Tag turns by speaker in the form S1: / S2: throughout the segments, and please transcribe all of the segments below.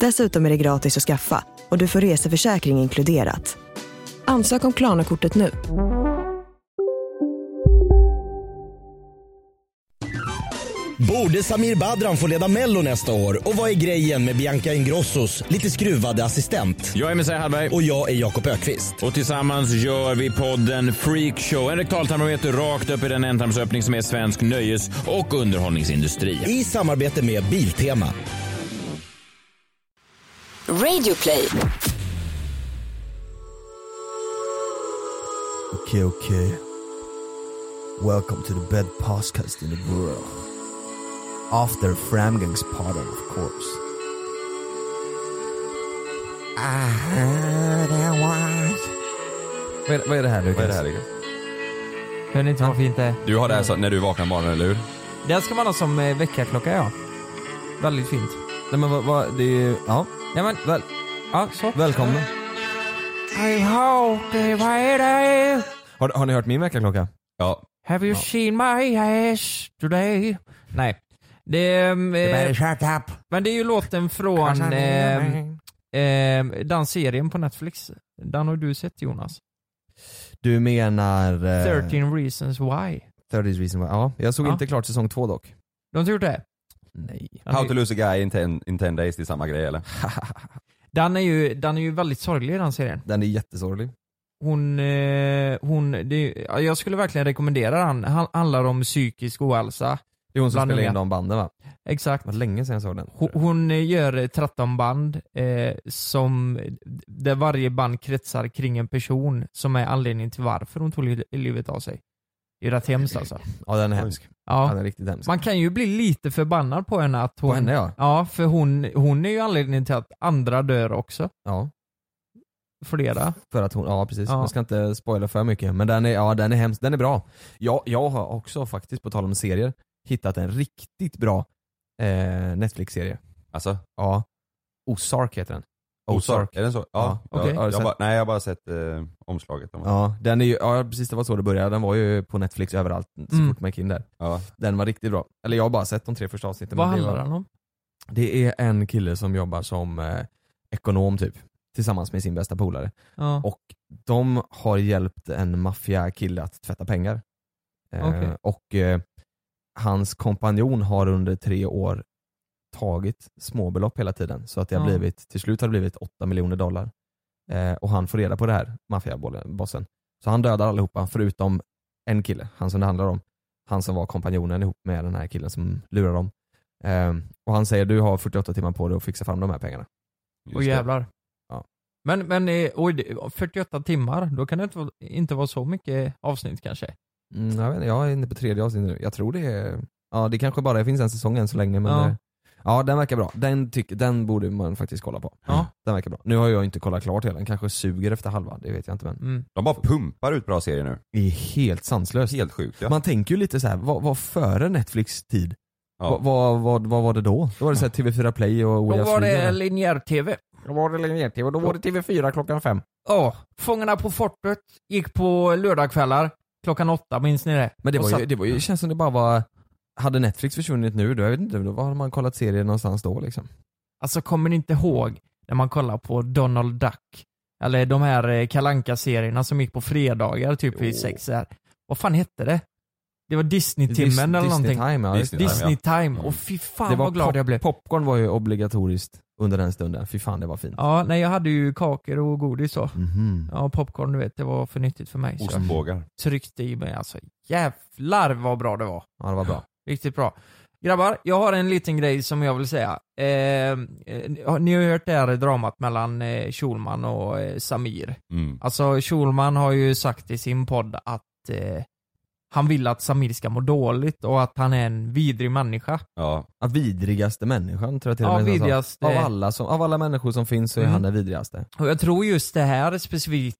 S1: Dessutom är det gratis att skaffa och du får reseförsäkring inkluderat. Ansök om Klarna-kortet nu.
S2: Borde Samir Badran få leda Mello nästa år? Och vad är grejen med Bianca Ingrossos lite skruvade assistent?
S3: Jag är Messiah Hallberg
S2: Och jag är Jakob Ökvist.
S3: och tillsammans gör vi podden Freakshow. En rektaltarmometer rakt upp i den ändtarmsöppning som är svensk nöjes och underhållningsindustri.
S2: I samarbete med Biltema.
S4: Radioplay.
S5: Okay, okay. Welcome to the best podcast in the world. After Framgang's party, of course. I heard it was...
S6: Vad är, vad är det här Lukas? Vad är det här Lukas? Hör ni inte vad fint det är?
S7: Du har det här så, när du vaknar på morgonen, eller hur?
S6: Den ska man ha som eh, väckarklocka ja. Väldigt fint. Nej men vad, vad det är ju, ja. Nej men väl, ja så. Välkommen. I hope they wait a- har, har ni hört min
S5: Eh,
S6: väckarklocka?
S7: Ja.
S6: Have you seen my ass today? Nej. Det, är, eh,
S5: shut up.
S6: men det är ju låten från eh, eh, den serien på Netflix. Den har du sett Jonas.
S5: Du menar... eh,
S6: 13 reasons why.
S5: 30 reason why. Ja, jag såg
S6: Ja.
S5: inte klart säsong två dock.
S6: Du har inte gjort det?
S5: Nej.
S6: Den
S7: How
S6: är-
S7: to lose a guy in ten, in ten days, det är samma grej eller?
S6: Den är ju, den är ju väldigt sorglig den serien.
S5: Den är jättesorglig.
S6: Hon, eh, hon, det, ja, jag skulle verkligen rekommendera den. Han handlar om psykisk ohälsa.
S5: Det är hon som
S6: Bland
S5: spelar in
S6: unga.
S5: de banden va?
S6: Exakt.
S5: Det var länge sedan jag såg den.
S6: Hon, hon eh, gör eh, 13 band eh, som, där varje band kretsar kring en person som är anledningen till varför hon tog li- livet av sig. Det är rätt hemskt alltså.
S5: Ja den är hemsk. Ja. Den
S6: Ja.
S5: är riktigt hemsk.
S6: Man kan ju bli lite förbannad på henne att hon...
S5: På henne ja.
S6: Ja, för hon, hon är ju anledningen till att andra dör också.
S5: Ja.
S6: Flera.
S5: För att hon, ja precis.
S6: Ja.
S5: Man ska inte spoila för mycket. Men den är, ja, den är hemsk, den är bra. Jag, jag har också faktiskt, på tal om serier, hittat en riktigt bra eh, Netflix-serie.
S7: Alltså?
S5: Ja. Ozark heter den. Oh,
S7: Är den så? Ja.
S5: Ja,
S7: ja,
S6: okej.
S7: jag, bara, nej, jag har bara sett eh, omslaget. Ja.
S5: Ja, den är ju, ja precis det var så det började. Den var ju på Netflix överallt så
S6: Mm.
S5: fort man gick in där.
S7: Ja.
S5: Den var riktigt bra. Eller jag har bara sett de tre första avsnitten.
S6: Vad
S5: men det,
S6: handlar
S5: var,
S6: den om?
S5: det är en kille som jobbar som eh, ekonom typ. Tillsammans med sin bästa polare.
S6: Ja.
S5: Och de har hjälpt en maffiakille att tvätta pengar. Eh,
S6: Okej.
S5: Och eh, hans kompanjon har under tre år tagit småbelopp hela tiden. Så att det har
S6: Ja.
S5: blivit, till slut har det blivit 8 miljoner dollar. Eh, och han får reda på det här, maffiabossen. Så han dödar allihopa förutom en kille, han som det handlar om. Han som var kompanjonen ihop med den här killen som lurar dem. Eh, och han säger du har 48 timmar på dig att fixa fram de här pengarna.
S7: just
S6: Och
S7: det.
S6: jävlar.
S5: Ja.
S6: Men, men eh, oj, det- 48 timmar, då kan det inte vara, inte vara så mycket avsnitt kanske?
S5: Mm, jag, vet, inte, jag är inne på tredje avsnittet nu. Jag tror det är... Ja, det kanske bara finns en säsong än så länge men...
S6: Ja.
S5: Ja, ja den verkar bra. Den, tyck, den borde man faktiskt kolla på. Mm,
S6: Ja.
S5: Den verkar bra. Nu har jag inte kollat klart hela, den kanske suger efter halva, det vet jag inte men.
S6: Mm.
S7: De bara pumpar ut bra serier nu.
S5: Det är helt sanslöst.
S7: Helt sjukt ja.
S5: Man tänker ju lite så här, vad var före Netflix tid?
S7: ja.
S5: Vad, vad, vad, vad var det då? Då var det så här TV4 Play och
S6: Då
S5: Oja
S6: var det
S5: Flyg.
S6: linjär-tv.
S5: Då var det linjär-tv, då var det TV4 klockan fem.
S6: Ja, Fångarna på fortet gick på lördagkvällar klockan åtta, minns ni det?
S5: Men det,
S6: Och
S5: var ju,
S6: satt-
S5: det var ju, känns som det bara var, hade Netflix försvunnit nu, då, jag vet inte, då har man kollat serier någonstans då liksom.
S6: Alltså kommer ni inte ihåg när man kollar på Donald Duck? Eller de här kalanka serierna som gick på fredagar typ vid
S5: Jo.
S6: sex här. Vad fan hette det? Det var Disney-timmen eller någonting.
S5: Disney Time, ja, just det.
S7: Disney Time,
S6: Disney Time.
S7: Mm.
S6: Och fy fan
S5: Det var
S6: vad glad
S5: pop-
S6: jag blev.
S5: Popcorn var ju obligatoriskt under den stunden, fy fan det var fint.
S6: Ja, nej jag hade ju kakor och godis då.
S5: Mhm.
S6: Ja, popcorn du vet, det var för nyttigt för mig. Så jag
S7: Ostbågar.
S6: tryckte i mig alltså. Jävlar vad bra det var.
S5: Ja, det var bra.
S6: Riktigt bra. Grabbar, jag har en liten grej som jag vill säga. Eh, eh, ni har ju hört det här dramat mellan eh, Schulman och eh, Samir.
S8: Mm.
S6: Alltså Schulman har ju sagt i sin podd att eh, han vill att Samir ska må dåligt och att han är en vidrig människa.
S8: Ja.
S5: Ja, vidrigaste människan tror jag till
S6: Ja,
S5: och med han sa.
S6: vidrigaste.
S5: Av alla, som, av alla människor som finns så är
S6: Mm.
S5: han den vidrigaste.
S6: Och jag tror just det här specifikt,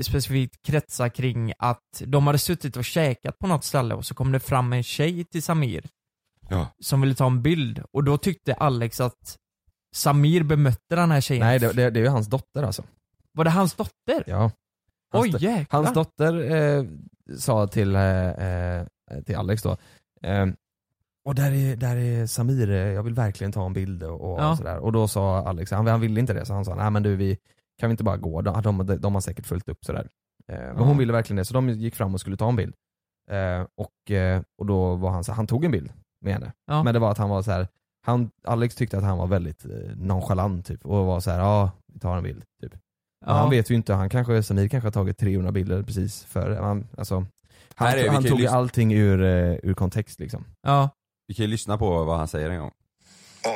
S6: specifikt kretsar kring att de hade suttit och käkat på något ställe och så kom det fram en tjej till Samir
S8: Ja.
S6: som ville ta en bild och då tyckte Alex att Samir bemötte den här tjejen.
S5: Nej det, det, det är ju hans dotter alltså.
S6: Var det hans dotter?
S5: Ja. Hans
S6: Oj
S5: do-
S6: jäklar.
S5: Hans dotter eh, sa till, eh, eh, till Alex då, eh, och där är, där är Samir, eh, jag vill verkligen ta en bild och, och
S6: Ja.
S5: sådär. Och då sa Alex, han, han ville inte det, så han sa nej men du vi, kan vi inte bara gå, de, de, de har säkert fullt upp sådär. Eh, men
S6: Ja.
S5: hon ville verkligen det, så de gick fram och skulle ta en bild. Eh, och, eh, och då var han så han tog en bild med henne.
S6: Ja.
S5: Men det var att han var så här. Han, Alex tyckte att han var väldigt eh, nonchalant typ och var så här, ja vi tar en bild typ.
S6: Ja.
S5: Men Han vet ju inte, han kanske, Samir kanske har tagit 300 bilder precis för, han, alltså, han,
S8: Här är vi
S5: han
S8: kan ju
S5: tog ju
S8: lyssna-
S5: allting ur, eh, ur kontext liksom.
S6: Ja.
S8: Vi kan ju lyssna på vad han säger en gång.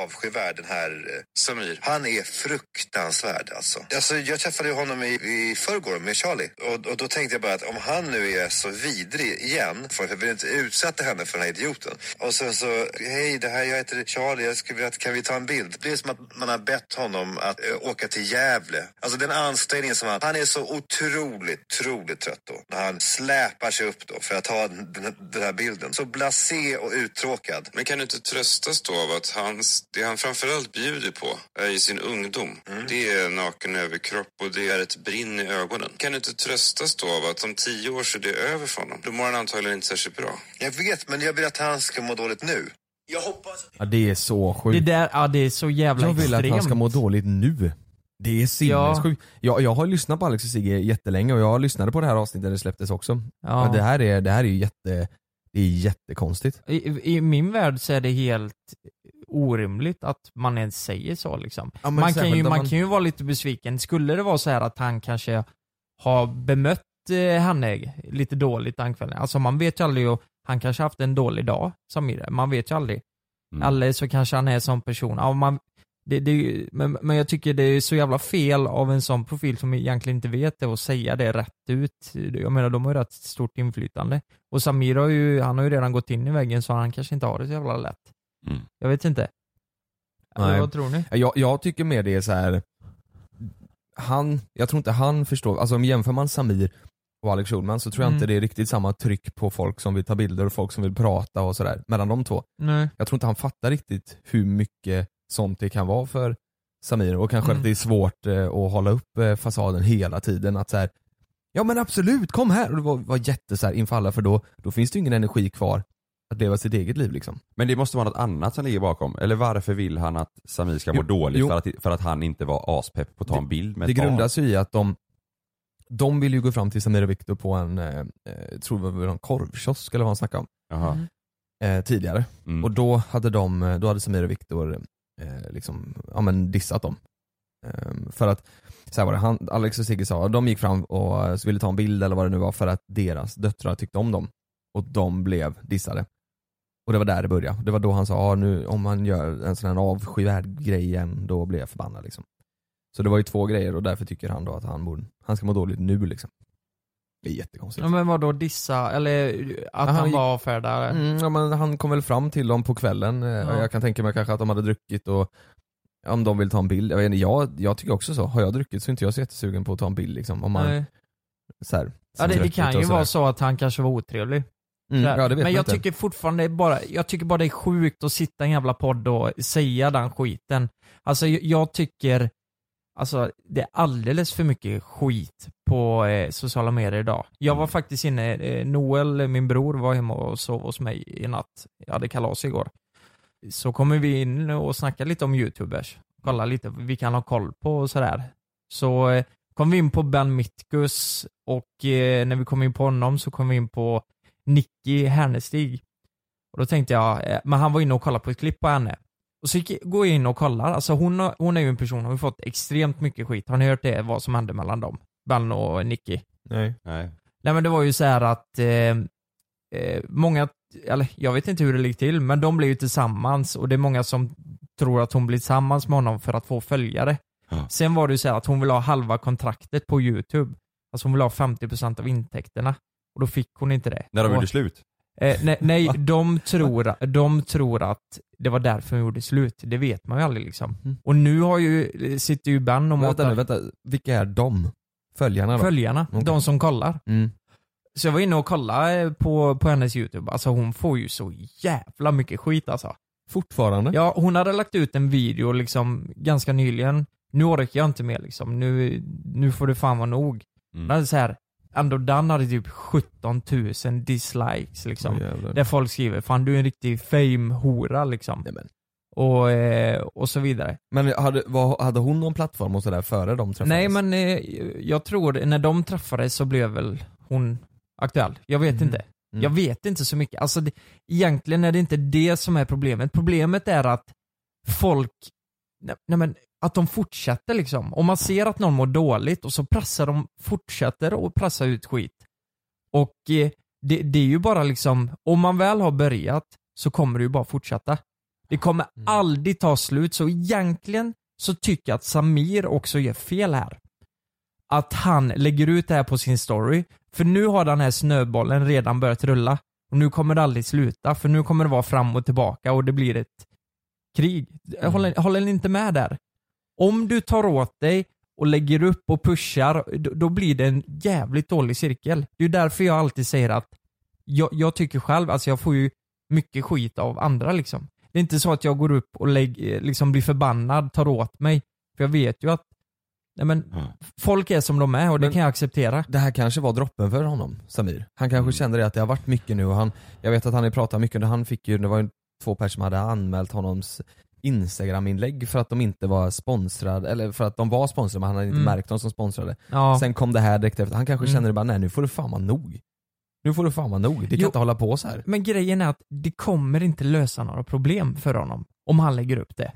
S9: avsky världen här, eh, Samir. Han är fruktansvärd alltså. alltså jag träffade ju honom i, i förrgår med Charlie och, och då tänkte jag bara att om han nu är så vidrig igen, för jag vill inte utsätta henne för den här idioten. Och sen så, hej det här, jag heter Charlie, jag skulle vilja, att- kan vi ta en bild? Det blir som att man har bett honom att eh, åka till Gävle. Alltså den ansträngningen som han, han är så otroligt, otroligt trött då. När han släpar sig upp då för att ta den, den här bilden. Så blasé och uttråkad.
S10: Men kan du inte tröstas då av att hans, det han framförallt bjuder på är eh, i sin ungdom.
S9: Mm.
S10: Det är naken överkropp och det är ett brinn i ögonen. Kan du inte tröstas då av att om tio år så är det över för honom? Då mår han antagligen inte särskilt bra.
S9: Jag vet, men jag vill att han ska må dåligt nu. Jag hoppas...
S5: Ja, det är så
S6: Det
S5: sjukt.
S6: där, ja det är så jävla
S5: Jag vill att han
S6: extremt.
S5: ska må dåligt nu. Det är sinnessjukt. Jag, jag har lyssnat på Alex och Sigge jättelänge och jag lyssnade på det här avsnittet när det släpptes också.
S6: Ja.
S5: Ja. Det, här är, det här är ju jätte, det är jättekonstigt.
S6: I, I min värld så är det helt orimligt att man ens säger så liksom.
S5: Ja, men
S6: man, kan
S5: särskilt
S6: ju,
S5: om
S6: man...
S5: man-
S6: kan ju vara lite besviken. Skulle det vara så här att han kanske har bemött eh, henne lite dåligt den kvällen. Alltså man vet ju aldrig, och han kanske haft en dålig dag, Samir. Man vet ju aldrig. Eller så kanske han är som person. Ja, man, det, det, är ju- men, men jag tycker det är så jävla fel av en sån profil som egentligen inte vet det och säga det rätt ut. Jag menar de har ju rätt stort inflytande. Och Samir har ju, han har ju redan gått in i väggen så han kanske inte har det så jävla lätt.
S8: Mm.
S6: Jag vet inte. Eller
S5: Nej.
S6: Vad tror ni?
S5: Jag, jag tycker mer det är så här. han, jag tror inte han förstår, alltså om jämför man Samir och Alex Schulman så tror jag
S6: Mm.
S5: inte det är riktigt samma tryck på folk som vill ta bilder och folk som vill prata och sådär, mellan de två.
S6: Nej.
S5: Jag tror inte han fattar riktigt hur mycket sånt det kan vara för Samir och kanske
S6: Mm.
S5: att det är svårt eh, att hålla upp eh, fasaden hela tiden. Att så här, ja men absolut, kom här! Och det var, var jätte så här, inför alla för då, då finns det ju ingen energi kvar att leva sitt eget liv liksom.
S8: Men det måste vara något annat som ligger bakom. Eller varför vill han att Samir ska må
S5: Jo,
S8: dåligt?
S5: jo.
S8: För att, för att han inte var aspepp på att ta en bild med
S5: det
S8: ett barn?
S5: grundas ju i att de, de vill ju gå fram till Samir och Viktor på en, eh, eh, tror jag det var en korvkiosk eller vad han snackade om.
S8: Jaha.
S6: Mm.
S5: eh, tidigare.
S8: Mm.
S5: Och då hade, de, då hade Samir och Viktor eh, liksom, ja, men dissat dem. Ehm, för att, så här var det, han, Alex och Sigge sa, de gick fram och eh, ville ta en bild eller vad det nu var för att deras döttrar tyckte om dem. Och de blev dissade. Och det var där det började. Det var då han sa, ah, nu, om han gör en sån här avskyvärd grej igen, då blir jag förbannad liksom. Så det var ju två grejer och därför tycker han då att han, borde, han ska må dåligt nu liksom. Det är jättekonstigt.
S6: Ja, men vadå dissa? Eller att
S5: Ja, han
S6: han
S5: gick-
S6: var avfärdare?
S5: Mm, ja, men han kom väl fram till dem på kvällen. eh,
S6: Ja.
S5: Jag kan tänka mig kanske att de hade druckit och om de vill ta en bild. Jag, vet inte, jag, jag tycker också så. Har jag druckit så är inte jag så jättesugen på att ta en bild. Liksom, om man,
S6: Nej.
S5: så här,
S6: Ja, det, det
S5: trött
S6: kan
S5: och
S6: ju
S5: sådär.
S6: vara så att han kanske var otrevlig.
S5: Mm, ja,
S6: Där.
S5: det vet
S6: men
S5: man
S6: jag
S5: inte.
S6: tycker fortfarande bara, jag tycker bara det är sjukt att sitta i en jävla podd och säga den skiten. Alltså jag, jag tycker, alltså det är alldeles för mycket skit på eh, sociala medier idag. Jag
S5: Mm.
S6: var faktiskt inne, eh, Noel, min bror, var hemma och sov hos mig i natt. Jag hade kalas igår. Så kommer vi in och snackar lite om youtubers. Kolla lite vad vi kan ha koll på och sådär. Så eh, kom vi in på Ben Mitkus och eh, när vi kom in på honom så kom vi in på Nicky Hernestig. Och då tänkte jag, eh, men han var inne och kollade på ett klipp på henne. Och så gick, går jag in och kollar, alltså hon, har- hon är ju en person, hon har ju fått extremt mycket skit. Har ni hört det, vad som hände mellan dem? Ben och Nicky?
S5: Nej.
S8: Nej.
S6: Nej men det var ju så här att eh, eh, många eller jag vet inte hur det ligger till, men de blev ju tillsammans och det är många som tror att hon blir tillsammans med honom för att få följare. Sen var det ju så här att hon ville ha halva kontraktet på YouTube. Alltså hon ville ha 50% av intäkterna. Och då fick hon inte det.
S2: När de
S6: och,
S2: gjorde slut?
S6: Eh, nej, nej de, tror, de tror att det var därför hon gjorde slut. Det vet man ju aldrig liksom. Och nu har ju, sitter ju Bann och
S5: Mm. Vänta nu,
S6: matar
S5: vänta. Vilka är de? Följarna då?
S6: följarna,
S5: Okej.
S6: de som kollar.
S5: Mm.
S6: Så jag var inne och kollade eh, på, på hennes YouTube. Alltså hon får ju så jävla mycket skit alltså.
S5: Fortfarande?
S6: Ja, hon hade lagt ut en video liksom ganska nyligen. Nu orkar jag inte mer liksom. Nu, nu får det fan vara nog.
S2: Mm.
S6: Men så här, ändå Dan hade typ 17 000 dislikes liksom.
S2: Åh, jävlar.
S6: där folk skriver 'Fan du är en riktig fame-hora' liksom. Och, eh, och så vidare.
S5: Men hade, var, hade hon någon plattform och sådär före de träffades?
S6: Nej men eh, jag tror, när de träffades så blev väl hon aktuell. Jag vet inte.
S5: Mm.
S6: Jag vet inte så mycket. Alltså det, egentligen är det inte det som är problemet. Problemet är att folk, nej, nej men, att de fortsätter liksom. Om man ser att någon mår dåligt och så pressar de, fortsätter och pressa ut skit. Och eh, det, det är ju bara liksom, om man väl har börjat så kommer det ju bara fortsätta. Det kommer aldrig ta slut, så egentligen så tycker jag att Samir också gör fel här. Att han lägger ut det här på sin story, för nu har den här snöbollen redan börjat rulla. Och nu kommer det aldrig sluta, för nu kommer det vara fram och tillbaka och det blir ett krig. Håller, håller ni inte med där? Om du tar åt dig och lägger upp och pushar, då, då blir det en jävligt dålig cirkel. Det är ju därför jag alltid säger att jag, jag tycker själv, alltså jag får ju mycket skit av andra liksom. Det är inte så att jag går upp och lägg, liksom blir förbannad, tar åt mig. För jag vet ju att nej men, folk är som de är och det kan jag acceptera.
S5: Det här kanske var droppen för honom, Samir. Han kanske kände det att det har varit mycket nu och han, jag vet att han har pratat mycket, när han fick ju, det var ju två personer som hade anmält honoms Instagram-inlägg för att de inte var sponsrade, eller för att de var sponsrade men han hade inte
S6: Mm.
S5: märkt dem som sponsrade.
S6: Ja.
S5: Sen kom det här direkt efter, han kanske
S6: Mm.
S5: kände det bara nej nu får det fan vara nog. Nu får det fan vara nog, det kan
S6: Jo.
S5: inte hålla på så här.
S6: Men grejen är att det kommer inte lösa några problem för honom om han lägger upp det.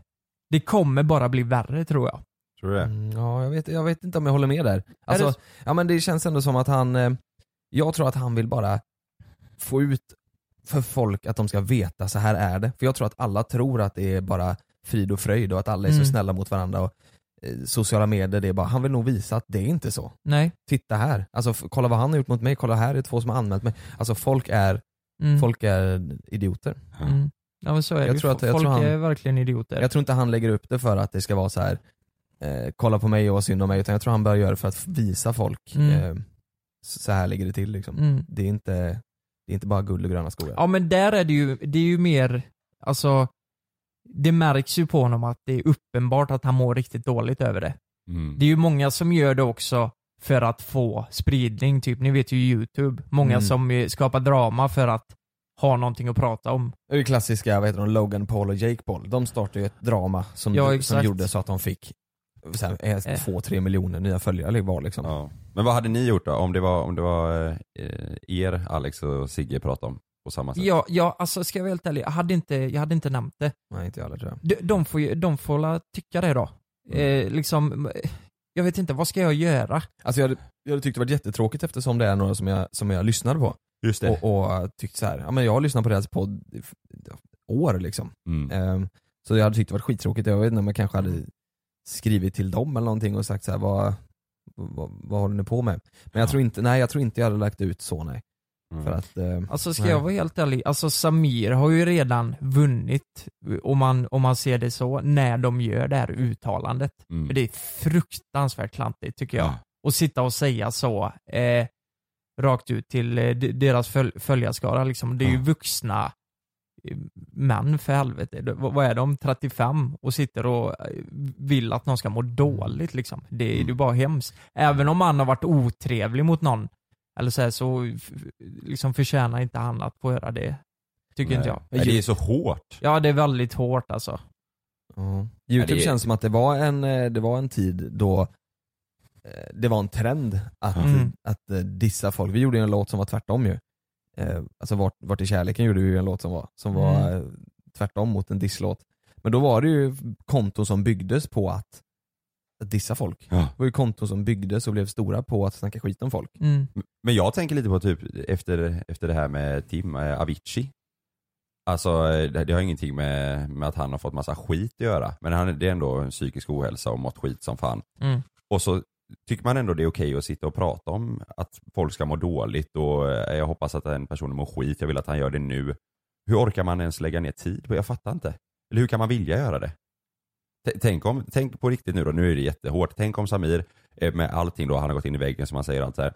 S6: Det kommer bara bli värre tror jag.
S2: Tror du det?
S5: Mm, ja, jag vet, jag vet inte om jag håller med där. Alltså,
S6: det så?
S5: ja men det känns ändå som att han, eh, jag tror att han vill bara få ut för folk att de ska veta så här är det. För jag tror att alla tror att det är bara frid och fröjd och att alla är så
S6: Mm.
S5: snälla mot varandra och eh, sociala medier, det är bara, han vill nog visa att det är inte så.
S6: Nej.
S5: Titta här, alltså f- kolla vad han har gjort mot mig, kolla här är två som har anmält mig. Alltså folk är,
S6: Mm.
S5: folk är idioter.
S6: Mm. Ja men så är
S5: Jag
S6: det ju.
S5: tror att- jag
S6: Folk
S5: tror han-
S6: är verkligen idioter.
S5: Jag tror inte han lägger upp det för att det ska vara så här eh, kolla på mig och vad synd om mig, utan jag tror han börjar göra det för att visa folk
S6: Mm.
S5: eh, så så här ligger det till liksom.
S6: Mm.
S5: Det, är inte, det är inte bara guld och gröna skogar.
S6: Ja men där är det ju, det är ju mer, alltså det märks ju på honom att det är uppenbart att han mår riktigt dåligt över det.
S7: Mm.
S6: Det är ju många som gör det också för att få spridning, typ ni vet ju YouTube. Många
S5: Mm.
S6: som eh, skapar drama för att ha någonting att prata om.
S5: Det är ju klassiska, vad heter de, Logan Paul och Jake Paul. De startade ju ett drama som,
S6: Ja,
S5: som
S6: exakt.
S5: gjorde så att de fick så här, eh,
S6: Eh.
S5: två, tre miljoner nya följare var liksom.
S2: Ja. Men vad hade ni gjort då? Om det var, om det var eh, er Alex och Sigge pratade om på samma sätt?
S6: Ja, ja alltså ska jag vara helt ärlig, jag hade inte, jag hade inte nämnt det.
S5: Nej inte jag heller tror jag.
S6: De, de får ju, de får la tycka det då.
S5: Mm.
S6: Eh, liksom, eh, jag vet inte, vad ska jag göra?
S5: Alltså jag hade, jag hade tyckt det varit jättetråkigt eftersom det är några som jag, som jag lyssnade på.
S2: Just
S5: det. Och, och tyckt så här, ja men jag har lyssnat på deras podd i f- år liksom.
S2: Mm.
S5: Ehm, så jag hade tyckt det varit skittråkigt, jag vet inte om jag kanske hade skrivit till dem eller någonting och sagt så här, vad, vad, vad håller ni på med? Men jag tror inte, nej jag tror inte jag hade lagt ut så nej. För att, ehm,
S6: Alltså ska
S5: nej.
S6: jag vara helt ärlig, alltså Samir har ju redan vunnit, om man, om man ser det så, när de gör det här uttalandet.
S2: Mm.
S6: För det är fruktansvärt klantigt tycker jag. Att sitta och säga så, eh, rakt ut till eh, de- deras föl följarskara liksom. Det är ju vuxna eh, män för helvete. De- Vad vad är de? 35 och sitter och eh, vill att någon ska må dåligt liksom. Det är
S2: Mm.
S6: ju bara hemskt. Även om han har varit otrevlig mot någon eller så, här, så f- f- liksom förtjänar inte han att få höra det. Tycker inte jag.
S2: Nej, det är så hårt.
S6: Ja, det är väldigt hårt alltså.
S5: Ja. Youtube
S6: Ja, det-
S5: känns som att det var en, eh, det var en tid då eh, det var en trend att,
S6: Mm.
S5: att eh, dissa folk. Vi gjorde ju en låt som var tvärtom ju. Eh, Alltså vart, vart i kärleken gjorde vi ju en låt som var, som var
S6: Mm.
S5: eh, tvärtom mot en disslåt. Men då var det ju konton som byggdes på att, att dissa folk.
S2: Ja.
S5: Det var ju konton som byggdes och blev stora på att snacka skit om folk.
S6: Mm.
S2: Men jag tänker lite på typ efter, efter det här med Tim, eh, Avicii. Alltså eh, det det har ingenting med, med att han har fått massa skit att göra. Men han, det är ändå en psykisk ohälsa och mått skit som fan.
S6: Mm.
S2: Och så tycker man ändå det är okej att sitta och prata om att folk ska må dåligt och eh, jag hoppas att den personen mår skit, jag vill att han gör det nu. Hur orkar man ens lägga ner tid på Jag fattar inte. Eller hur kan man vilja göra det? T- Tänk, om, tänk på riktigt nu då, nu är det jättehårt. Tänk om Samir eh, med allting då, han har gått in i väggen som han säger allt så här.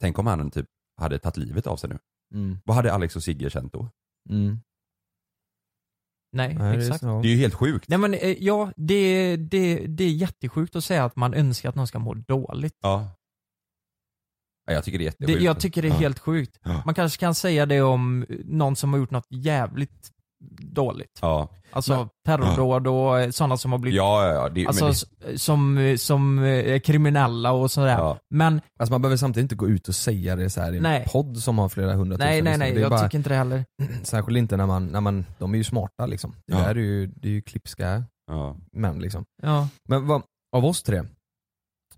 S2: Tänk om han typ hade tagit livet av sig nu.
S5: Mm.
S2: Vad hade Alex och Sigge känt då?
S6: Nej,
S2: Nej, det är
S6: exakt.
S2: så. Det är ju helt sjukt.
S6: Nej men eh, ja, det, det, det är jättesjukt att säga att man önskar att någon ska må dåligt.
S2: Ja. Ja, Jag tycker det är
S6: Det,
S2: jättesjukt.
S6: jag tycker det är
S2: Ja.
S6: helt sjukt.
S2: Ja.
S6: Man kanske kan säga det om eh, någon som har gjort något jävligt dåligt.
S2: Ja.
S6: Alltså terrordåd och eh, sådana som har blivit
S2: Ja, ja, ja. Det,
S6: Alltså
S2: men det,
S6: s- som, eh, som eh, är kriminella och sådär. Men
S5: Alltså man behöver samtidigt inte gå ut och säga det så här i en
S6: Nej.
S5: podd som har flera hundratusen
S6: nej nej nej,
S5: lyssnare. Det är
S6: jag
S5: bara-
S6: tycker inte det heller.
S5: Särskilt inte när man, när man, de är ju smarta liksom. Det
S6: Ja.
S5: där är ju, det är ju klipska män liksom.
S6: Ja.
S5: Men vad, av oss tre,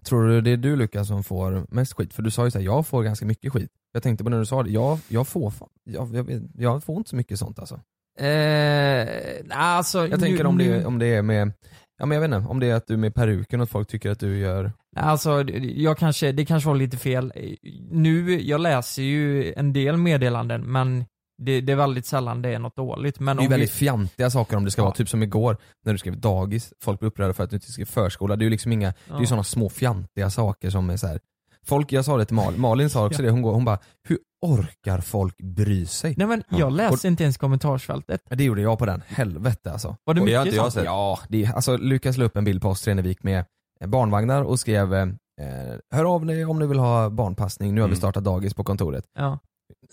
S5: tror du det är du Lukas som får mest skit? För du sa ju såhär, jag får ganska mycket skit. Jag tänkte på när du sa det, jag, jag får fan- jag, jag, vet- jag får inte så mycket sånt alltså.
S6: Eh, alltså,
S5: Jag tänker om det, om det är med, ja men jag vet inte, om det är att du är med peruken och att folk tycker att du gör
S6: Alltså, jag kanske, det kanske var lite fel. Eh, Nu, jag läser ju en del meddelanden men det, det är väldigt sällan det är något dåligt. Men
S5: det är
S6: om
S5: ju väldigt
S6: vi,
S5: fjantiga saker om det ska vara, typ som igår när du skrev dagis, folk blev upprörda för att du inte skrev förskola. Det är ju liksom inga, det är
S6: Ja.
S5: ju sådana små fjantiga saker som är så här. Folk, jag sa det till Malin, Malin sa också
S6: Ja.
S5: det, hon, går, hon bara, hur orkar folk bry sig?
S6: Nej men jag läser inte ens kommentarsfältet.
S5: Det gjorde jag på den, helvete alltså.
S6: Var det
S5: Och-
S6: mycket Det har inte jag sånt? sett.
S5: Ja, det, är- alltså Lukas la upp en bild på oss tre när vi gick med eh, barnvagnar och skrev eh, eh, Hör av dig om ni vill ha barnpassning, nu har vi
S6: Mm.
S5: startat dagis på kontoret
S6: Ja.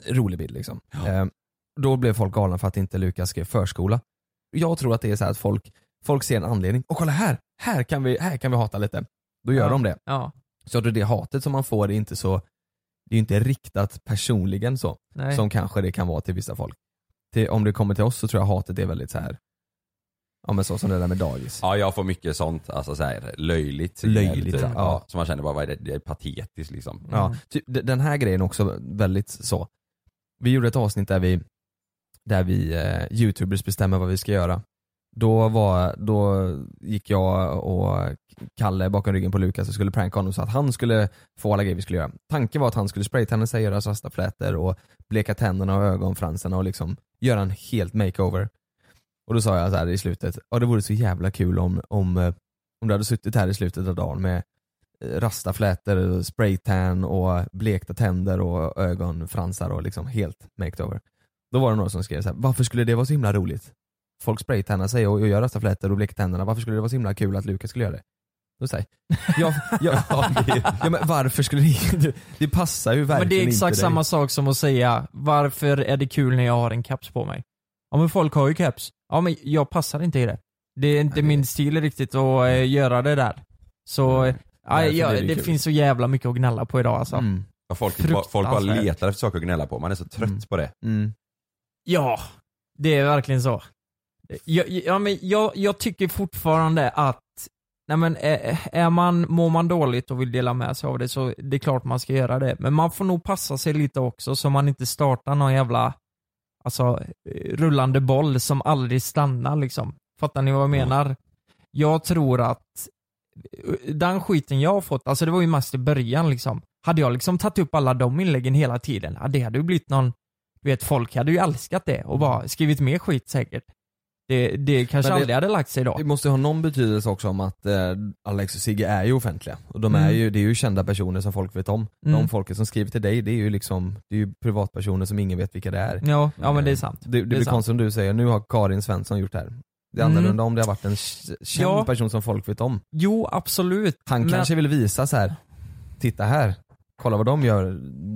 S5: rolig bild liksom. Eh, då blev folk galna för att inte Lukas skrev förskola. Jag tror att det är så här att folk, folk ser en anledning, och kolla här, här kan vi, här kan vi hata lite. Då gör
S6: Ja.
S5: de det.
S6: Ja.
S5: Så att det hatet som man får är inte så, det är inte riktat personligen så,
S6: Nej.
S5: som kanske det kan vara till vissa folk. Till, om det kommer till oss så tror jag hatet är väldigt så här. ja men så som det där med dagis.
S2: Ja, jag får mycket sånt, alltså så här, löjligt.
S5: Löjligt,
S2: typ.
S5: ja.
S2: Så man känner bara, vad är det, det är patetiskt liksom.
S6: Mm.
S5: Ja, typ, d- den här grejen också väldigt så. Vi gjorde ett avsnitt där vi, där vi eh, youtubers bestämmer vad vi ska göra. Då, var, då gick jag och Kalle bakom ryggen på Lukas och skulle pranka honom så att han skulle få alla grejer vi skulle göra. Tanken var att han skulle spraytanna sig, göra rastaflätor och bleka tänderna och ögonfransarna och liksom göra en helt makeover. Och då sa jag så här i slutet, ja det vore så jävla kul om, om, eh, om du hade suttit här i slutet av dagen med eh, rastaflätor, spraytan och blekta tänder och ögonfransar och liksom helt maked over. Då var det några som skrev så här, varför skulle det vara så himla roligt? Folk spraytannar sig och, och gör rastaflätor och bleker tänderna, varför skulle det vara så himla kul att Lukas skulle göra det? Då säger jag, jag, ja, ja, men varför skulle det, det passar ju verkligen
S6: Men det är exakt
S5: inte dig.
S6: samma sak som att säga varför är det kul när jag har en keps på mig? Ja men folk har ju keps. Ja men jag passar inte i det. Det är inte min stil riktigt att eh, göra det där. Så eh, ja,
S2: Därför
S6: ja,
S2: blir
S6: det,
S2: det kul.
S6: finns så jävla mycket att gnälla på idag alltså.
S5: Mm.
S2: Ja, Folk, ba- folk bara
S6: Fruktansvärt.
S2: letar efter saker att gnälla på, man är så trött på det.
S6: Ja, det är verkligen så. Jag, ja, men jag, jag tycker fortfarande att Nej men är, är man, mår man dåligt och vill dela med sig av det så det är klart man ska göra det. Men man får nog passa sig lite också så man inte startar någon jävla alltså, eh, rullande boll som aldrig stannar liksom. Fattar ni vad jag menar? Jag tror att eh, den skiten jag har fått, alltså det var ju mest i början liksom. Hade jag liksom tagit upp alla de inläggen hela tiden, ja, det hade ju blivit någon, du vet folk hade ju älskat det och bara skrivit mer skit säkert. Det, det kanske
S5: Men det-
S6: aldrig hade lagt sig idag.
S5: Det måste ju ha någon betydelse också om att eh, Alex och Sigge är ju offentliga. Och de är
S6: Mm.
S5: ju, det är ju kända personer som folk vet om.
S6: Mm.
S5: De folket som skriver till dig, det är ju liksom, det är ju privatpersoner som ingen vet vilka det är.
S6: Ja, ja
S5: Mm.
S6: men det är sant.
S5: Det, det,
S6: är
S5: blir
S6: sant.
S5: konstigt om du säger, nu har Karin Svensson gjort det här. Det är
S6: Mm.
S5: annorlunda om det har varit en k- känd
S6: Ja.
S5: person som folk vet om.
S6: Jo, absolut.
S5: Han
S6: Men-
S5: kanske vill visa så här. titta här, kolla vad de gör,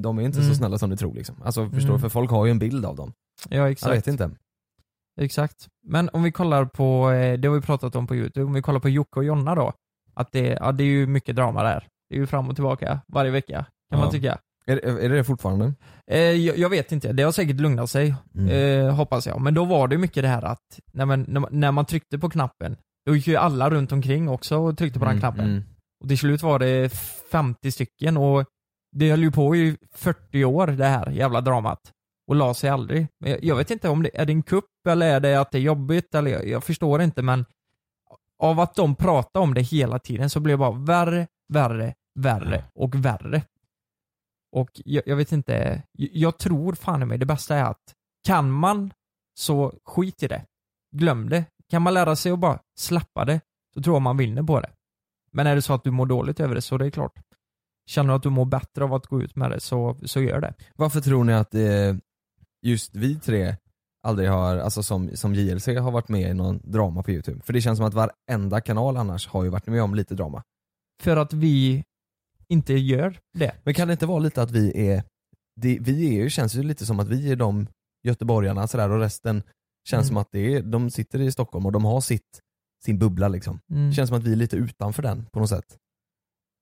S5: de är inte
S6: Mm.
S5: så snälla som du tror liksom. Alltså förstår
S6: Mm.
S5: du, för folk har ju en bild av dem.
S6: Ja exakt.
S5: Jag vet inte.
S6: Exakt. Men om vi kollar på, eh, det har vi pratat om på youtube, om vi kollar på Jocke och Jonna då. Att det, ja, det är ju mycket drama där. Det är ju fram och tillbaka varje vecka, kan man
S5: Ja.
S6: tycka.
S5: Är, är det det fortfarande?
S6: Eh, jag, jag vet inte, det har säkert lugnat sig,
S5: Mm.
S6: eh, hoppas jag. Men då var det ju mycket det här att, när man, när, man, när man tryckte på knappen, då gick ju alla runt omkring också och tryckte på den
S5: Mm,
S6: knappen.
S5: mm.
S6: Och till slut var det 50 stycken och det höll ju på i 40 år det här jävla dramat. Och la sig aldrig. Men jag, jag vet inte om det, är det en kupp eller är det att det är jobbigt? Eller jag, jag förstår inte men av att de pratar om det hela tiden så blir det bara värre, värre, värre och värre. Och jag, jag vet inte, jag, jag tror fan i mig det bästa är att kan man så skit i det. Glöm det. Kan man lära sig att bara släppa det så tror jag man vinner på det. Men är det så att du mår dåligt över det så det är klart. Känner du att du mår bättre av att gå ut med det så, så gör det.
S5: Varför tror ni att eh, just vi tre aldrig har, alltså som, som JLC har varit med i någon drama på youtube? För det känns som att varenda kanal annars har ju varit med om lite drama.
S6: För att vi inte gör det.
S5: Men kan det inte vara lite att vi är, det, vi är ju, känns ju lite som att vi är de göteborgarna sådär och resten känns
S6: Mm.
S5: som att det är, de sitter i Stockholm och de har sitt, sin bubbla liksom.
S6: Mm.
S5: Känns som att vi är lite utanför den på något sätt.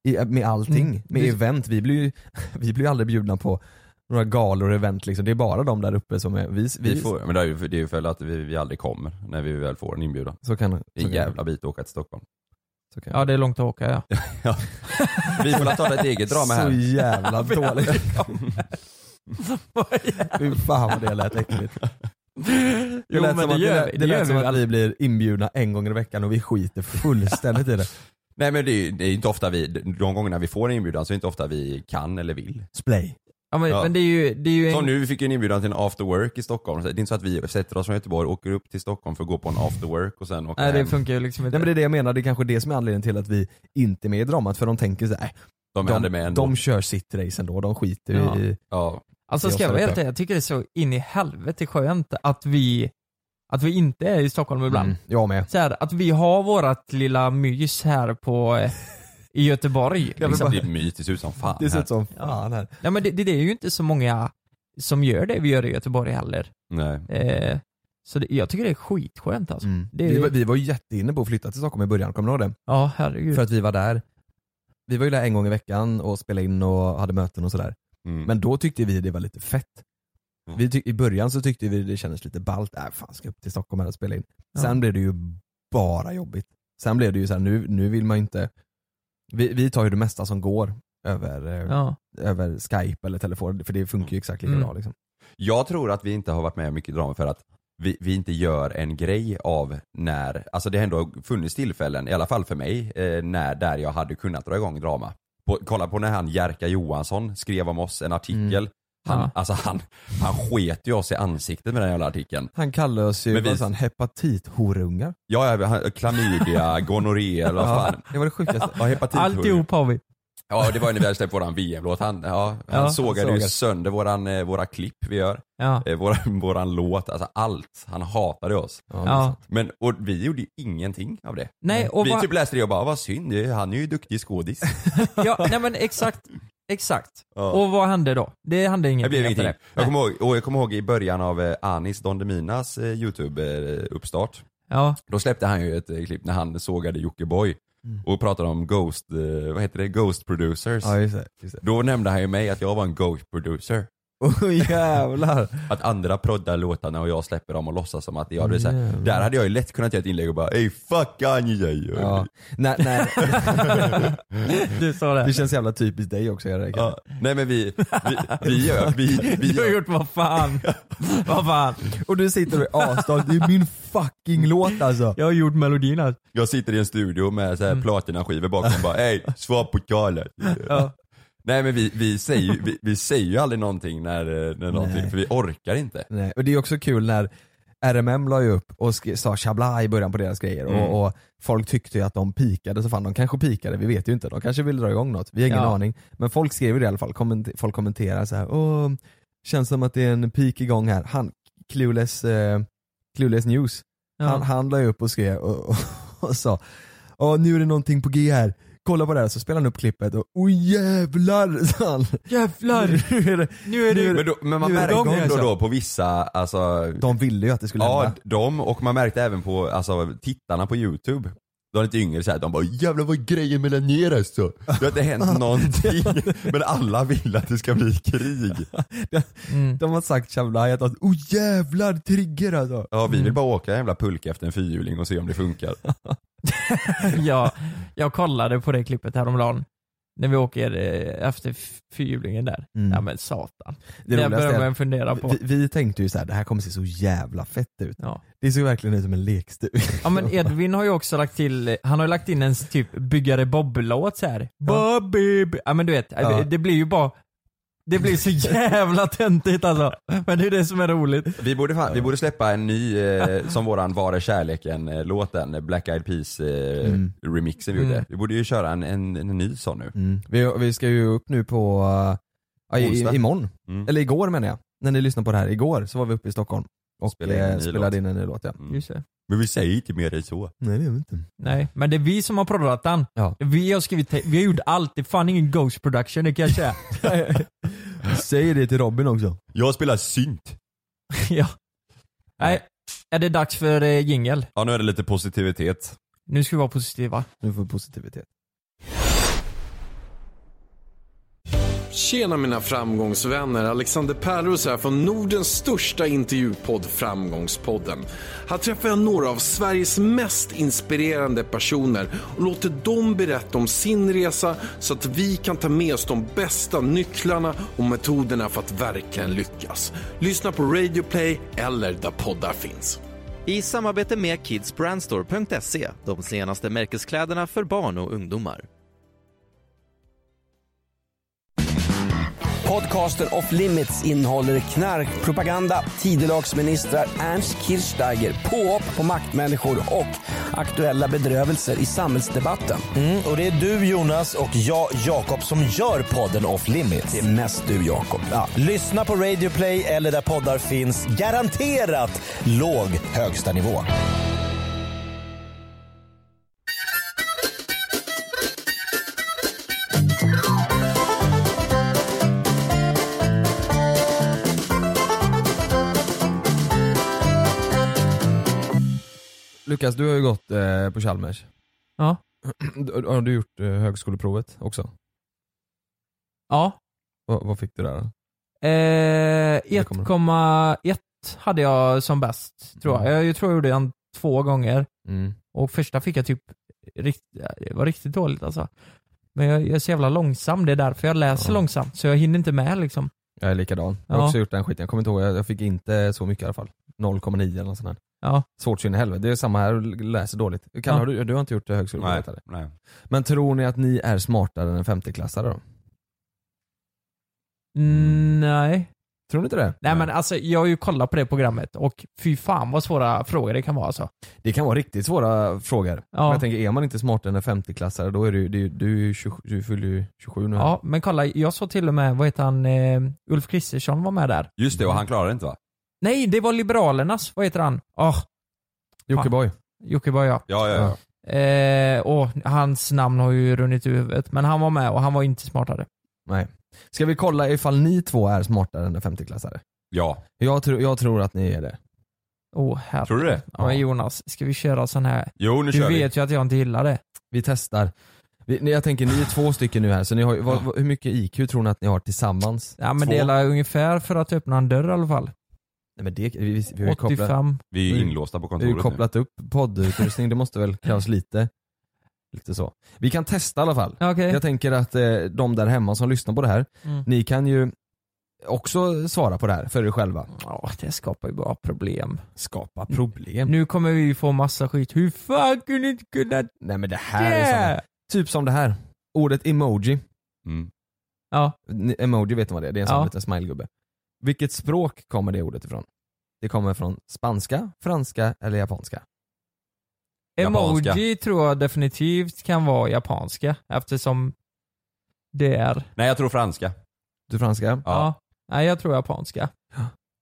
S5: I, med allting,
S6: Mm.
S5: med
S6: Det-
S5: event. Vi blir ju vi blir ju aldrig bjudna på några galor och event liksom. Det är bara de där uppe som är, vi, vi,
S2: Vi får, men det är ju det är ju för att vi, vi aldrig kommer när vi väl får en inbjudan.
S5: Så kan det.
S2: Det är en
S5: Så kan
S2: jävla bit att åka till Stockholm.
S6: Ja det är långt att åka ja.
S2: Vi får väl ta ett eget drama här.
S5: Så jävla dåligt. Fy fan vad det lät äckligt.
S2: Alltså,
S5: Det
S6: Jo,
S5: lät
S6: men
S5: som
S6: det
S5: att-
S6: gör vi.
S5: det
S6: Det gör
S5: lät som
S6: vi
S5: att
S6: väl.
S5: vi blir inbjudna en gång i veckan och vi skiter fullständigt i det.
S2: Nej men det är ju det är inte ofta vi, de gångerna vi får en inbjudan så är det inte ofta vi kan eller vill.
S5: Splay.
S6: Ja, men,
S2: Ja.
S6: men det är ju, det är ju
S2: Som
S6: en,
S2: nu, vi fick ju en inbjudan till en after work i Stockholm. Så Det är inte så att vi sätter oss från Göteborg, åker upp till Stockholm för att gå på en after work och sen åka
S6: Nej det
S2: hem.
S6: funkar ju liksom
S5: Nej
S6: inte.
S5: men det är det jag menar, det är kanske det som är anledningen till att vi inte är med i dramat för de tänker så här, äh,
S2: De är
S5: de,
S2: aldrig med ändå.
S5: de kör sitt race ändå, de skiter
S6: Ja.
S5: i...
S2: Ja.
S6: Alltså ska jag vara helt ärlig, jag tycker det är så in i helvete skönt att vi, att vi inte är i Stockholm ibland.
S5: Mm, jag med.
S6: Så här, att vi har vårat lilla mys här på, eh, i Göteborg.
S2: Det
S6: liksom.
S2: blir mytiskt ut som fan
S5: Det ser
S2: här.
S5: ut som fan här.
S6: Ja, men det, det, det är ju inte så många som gör det vi gör i Göteborg heller.
S2: Nej.
S6: Eh, så det, jag tycker det är skitskönt alltså.
S5: Mm.
S6: Det är-
S5: Vi, var- vi var ju jätteinne på att flytta till Stockholm i början, kommer du ihåg
S6: Ja,
S5: det?
S6: herregud.
S5: För att vi var där, vi var ju där en gång i veckan och spelade in och hade möten och sådär.
S2: Mm.
S5: Men då tyckte vi det var lite fett.
S2: Mm.
S5: Vi tyck- I början så tyckte vi det kändes lite ballt, äh fan ska jag upp till Stockholm här och spela in.
S6: Ja.
S5: Sen blev det ju bara jobbigt. Sen blev det ju så här, nu, nu vill man ju inte, vi, vi tar ju det mesta som går över, eh,
S6: ja.
S5: över skype eller telefon, för det funkar ju exakt lika
S6: Mm.
S5: bra liksom.
S2: Jag tror att vi inte har varit med om mycket drama för att vi, vi inte gör en grej av när, alltså det har ändå funnits tillfällen, i alla fall för mig, eh, när, där jag hade kunnat dra igång drama. På, kolla på när han Jerka Johansson skrev om oss en artikel. Han,
S6: Ja.
S2: alltså han, han sket ju oss i ansiktet med den jävla artikeln.
S5: Han kallar oss ju,
S2: Mm. Men
S5: vad
S2: vi-
S5: sa han, hepatithorungar.
S2: Ja, ja, han- klamydia, gonorré eller vad fan.
S5: Det var det sjukaste.
S2: Ja, hepatithorn.
S6: Alltihop har vi.
S2: Ja, det var ju när vi hade släppt våran VM-låt. Han, ja, han
S6: Ja, han
S2: sågade ju
S5: sågade.
S2: sönder våran, eh, våra klipp vi gör.
S6: Ja.
S2: Eh, våran, våran låt, alltså allt. Han hatade oss.
S5: Ja, det är
S6: Ja.
S5: sant.
S2: Men och vi gjorde ju ingenting av det.
S6: Nej, och
S2: vi
S6: vad-
S2: typ läste det och bara, vad synd, det är- han är ju duktig skådis.
S6: ja, nej men exakt. Exakt.
S2: Ja.
S6: Och vad hände då? Det hände
S2: Det
S6: ingenting
S2: blev
S6: efter
S2: ingenting.
S6: det.
S2: Jag kommer, ihåg, och jag kommer ihåg i början av eh, Anis Don Deminas eh, YouTube-uppstart.
S6: Ja,
S2: Då släppte han ju ett eh, klipp när han sågade Jockiboi och pratade om Ghost, eh, vad heter det, Ghost Producers.
S5: Mm. Ja just det. Just det.
S2: Då nämnde han ju mig att jag var en Ghost Producer.
S5: Oh, jävlar.
S2: Att andra proddar låtarna och jag släpper dem och låtsas som att jag, det är så här,
S5: Jävlar.
S2: där hade jag ju lätt kunnat göra ett inlägg och bara ey fuck Anjay.
S5: Ja. Nej, nej.
S6: du sa det.
S5: Det känns jävla typiskt dig också att göra det kanske.
S2: Ja. Nej men vi, vi, vi gör, vi, vi
S6: Du har
S2: gör
S6: gjort vad fan. vad fan.
S5: Och du sitter och är asdag, det är min fucking låt alltså.
S6: Jag har gjort melodin alltså.
S2: Jag sitter i en studio med så här
S5: Mm.
S2: platinaskivor bakom och bara ey, svar på kallet.
S6: Ja.
S2: Nej men vi, vi, säger, ju- vi, vi säger ju aldrig någonting när, eh, när någonting,
S5: Nej.
S2: för vi orkar inte.
S5: Nej, och det är också kul när RMM la ju upp och sk- sa chabla i början på deras grejer
S2: Mm.
S5: och, och folk tyckte ju att de pikade så fan, de kanske pikade, vi vet ju inte, de kanske ville dra igång något, vi har ingen
S6: Ja.
S5: aning. Men folk skrev ju det i alla fall, Komment- folk kommenterar så här, åh, känns som att det är en peak igång här, han, Clueless, eh, Clueless News,
S6: Ja.
S5: han, han la ju upp och skrev och, och, och sa, åh nu är det någonting på G här, kolla på det här, så spelar han upp klippet och oj jävlar, sa han.
S6: Jävlar.
S5: Nu är det,
S6: Nu är det-
S2: Men, då, men man
S5: nu är det
S2: märkte
S5: igång,
S2: ändå
S5: alltså.
S2: då på vissa, alltså,
S5: De ville ju att det skulle
S2: ja
S5: hända.
S2: de och man märkte även på alltså, tittarna på youtube. De är lite yngre såhär, de bara 'Jävlar vad är grejen mellan er alltså' Det har inte hänt någonting, men alla vill att det ska bli krig.
S6: Mm.
S5: De har sagt Shablajat att oh jävlar trigger alltså.
S2: Ja vi vill bara åka en jävla pulka efter en fyrhjuling och se om det funkar.
S6: jag, jag kollade på det klippet häromdagen. när vi åker eh, efter fyrhjulingen där.
S5: Mm.
S6: Ja men satan.
S5: Det
S6: Det, det
S5: roligaste
S6: börjar
S5: är-
S6: man fundera på.
S5: Vi, vi tänkte ju så här, det här kommer se så jävla fett ut. Det ser verkligen ut som en lekstuga.
S6: Ja men Edvin har ju också lagt till, han har ju lagt in en typ byggare Bob-låt såhär. Bob-bib. Ja men du vet,
S5: Ja.
S6: det blir ju bara, det blir så jävla töntigt alltså. Men det är det som är roligt.
S2: Vi borde, fan, vi borde släppa en ny, eh, som våran Var är kärleken-låten, eh, Black Eyed eh,
S5: Mm.
S2: Peas-remixen vi gjorde.
S5: Mm.
S2: Vi borde ju köra en, en, en ny sån nu.
S5: Mm. Vi, vi ska ju upp nu på, eh, ja, i,
S2: Onsdag.
S5: imorgon.
S2: Mm.
S5: Eller igår menar jag. När ni lyssnade på det här, igår så var vi uppe i Stockholm och
S2: Spelade in en
S5: spelade,
S2: ny
S5: spelade
S2: låt. Mm.
S5: in en ny låt. Ja.
S6: Just det.
S2: Men vi säger inte mer än så.
S5: Nej det gör vi inte.
S6: Nej, men det är vi som har proddat den.
S5: Ja.
S6: Vi har skrivit, te- vi har gjort allt, det är fan ingen Ghost production det kan jag säga.
S5: Säg det till Robin också.
S2: Jag spelar synt.
S6: ja. Nej, är det dags för eh, jingel?
S2: Ja nu är det lite positivitet.
S6: Nu ska vi vara positiva.
S5: Nu får vi positivitet.
S11: Tjena mina framgångsvänner, Alexander Pärlros här från Nordens största intervjupodd Framgångspodden. Här träffar jag några av Sveriges mest inspirerande personer och låter dem berätta om sin resa så att vi kan ta med oss de bästa nycklarna och metoderna för att verkligen lyckas. Lyssna på Radio Play eller där poddar finns.
S12: I samarbete med kidsbrandstore.se, de senaste märkeskläderna för barn och ungdomar.
S13: Podcasten Off Limits innehåller knarkpropaganda, tidelagsministrar, Ernst Kirchsteiger, påhopp på maktmänniskor och aktuella bedrövelser i samhällsdebatten.
S14: Mm, och det är du Jonas och jag Jakob som gör podden Off Limits.
S13: Det är mest du Jakob.
S14: Ja, lyssna på Radio Play eller där poddar finns. Garanterat låg högsta nivå.
S5: Lukas, du har ju gått eh, på Chalmers.
S6: Ja.
S5: Du- Har du gjort eh, högskoleprovet också?
S6: Ja.
S5: Vad, vad fick du där? då?
S6: Eh,
S5: kommer
S6: 1,1 hade jag som bäst, tror jag. Jag tror jag gjorde den två gånger.
S5: Mm.
S6: Och första fick jag typ, rikt, det var riktigt dåligt alltså. Men jag, jag är så jävla långsam, det är därför jag läser långsamt. Så jag hinner inte med liksom.
S5: Jag är likadan. Jag har
S6: Ja.
S5: också gjort den skiten. Jag kommer inte ihåg, jag jag fick inte så mycket i alla fall. 0,9 eller något sånt där.
S6: Ja.
S5: Svårt så in i helvete. Det är samma här, läser dåligt. Kalle,
S6: Ja.
S5: har du, du har inte gjort eh, högskoleprovet
S2: Nej,
S5: heller?
S2: nej.
S5: Men tror ni att ni är smartare än femteklassare då?
S6: Mm, nej.
S5: Tror ni inte det?
S6: Nej men alltså jag har ju kollat på det programmet och fy fan vad svåra frågor det kan vara alltså.
S5: Det kan vara riktigt svåra frågor.
S6: Ja.
S5: Men jag tänker, är man inte smartare än en femteklassare då är du, du, du, är ju 20 du fyller ju 27 nu.
S6: Ja men kolla, jag såg till och med, vad heter han, eh, Ulf Kristersson var med där.
S2: Just det och han klarar det inte va?
S6: Nej, det var Liberalernas, vad heter han? Oh.
S5: Jockiboi.
S6: Jockiboi ja.
S2: Ja, ja,
S6: Eh, och hans namn har ju runnit ur huvudet, men han var med och han var inte smartare.
S5: Nej. Ska vi kolla ifall ni två är smartare än en femteklassare?
S2: Ja.
S5: Jag, tror- jag tror att ni är det.
S6: Åh oh, herre.
S5: Tror du det?
S6: Ja. Men Jonas, ska vi köra sån här?
S2: Jo, nu
S6: du
S5: kör vi.
S6: vet ju att jag inte gillar det.
S5: Vi testar. Vi, nej, jag tänker, ni är två stycken nu här, så ni har, ju- vad, vad, hur mycket IQ tror ni att ni har tillsammans?
S6: Ja men
S5: Två?
S6: det är ungefär för att öppna en dörr i alla fall.
S5: Nej, men det, vi, vi, vi har ju kopplat- Mm.
S6: 85.
S2: Vi är ju inlåsta på
S5: Vi har ju
S2: kontoret
S5: kopplat upp poddutrustning, det måste väl krävas lite. Lite så. Vi kan testa i alla fall.
S6: Okej.
S5: Jag tänker att eh, de där hemma som lyssnar på det här,
S6: Mm.
S5: ni kan ju också svara på det här för er själva.
S6: Ja, det skapar ju bara problem.
S5: Skapa problem?
S6: Nu kommer vi ju få massa skit. Hur fan kunde inte kunna...
S5: Nej men det här är sådana, typ som det här. Ordet emoji.
S6: Ja.
S5: Emoji vet ni vad det är, det är en sån
S6: Ja.
S5: liten smilegubbe. Vilket språk kommer det ordet ifrån? Det kommer från spanska, franska eller japanska.
S6: Emoji
S5: Japanska.
S6: tror jag definitivt kan vara japanska eftersom det är...
S2: Nej jag tror franska.
S5: Du franska?
S6: Ja. Nej, jag tror japanska.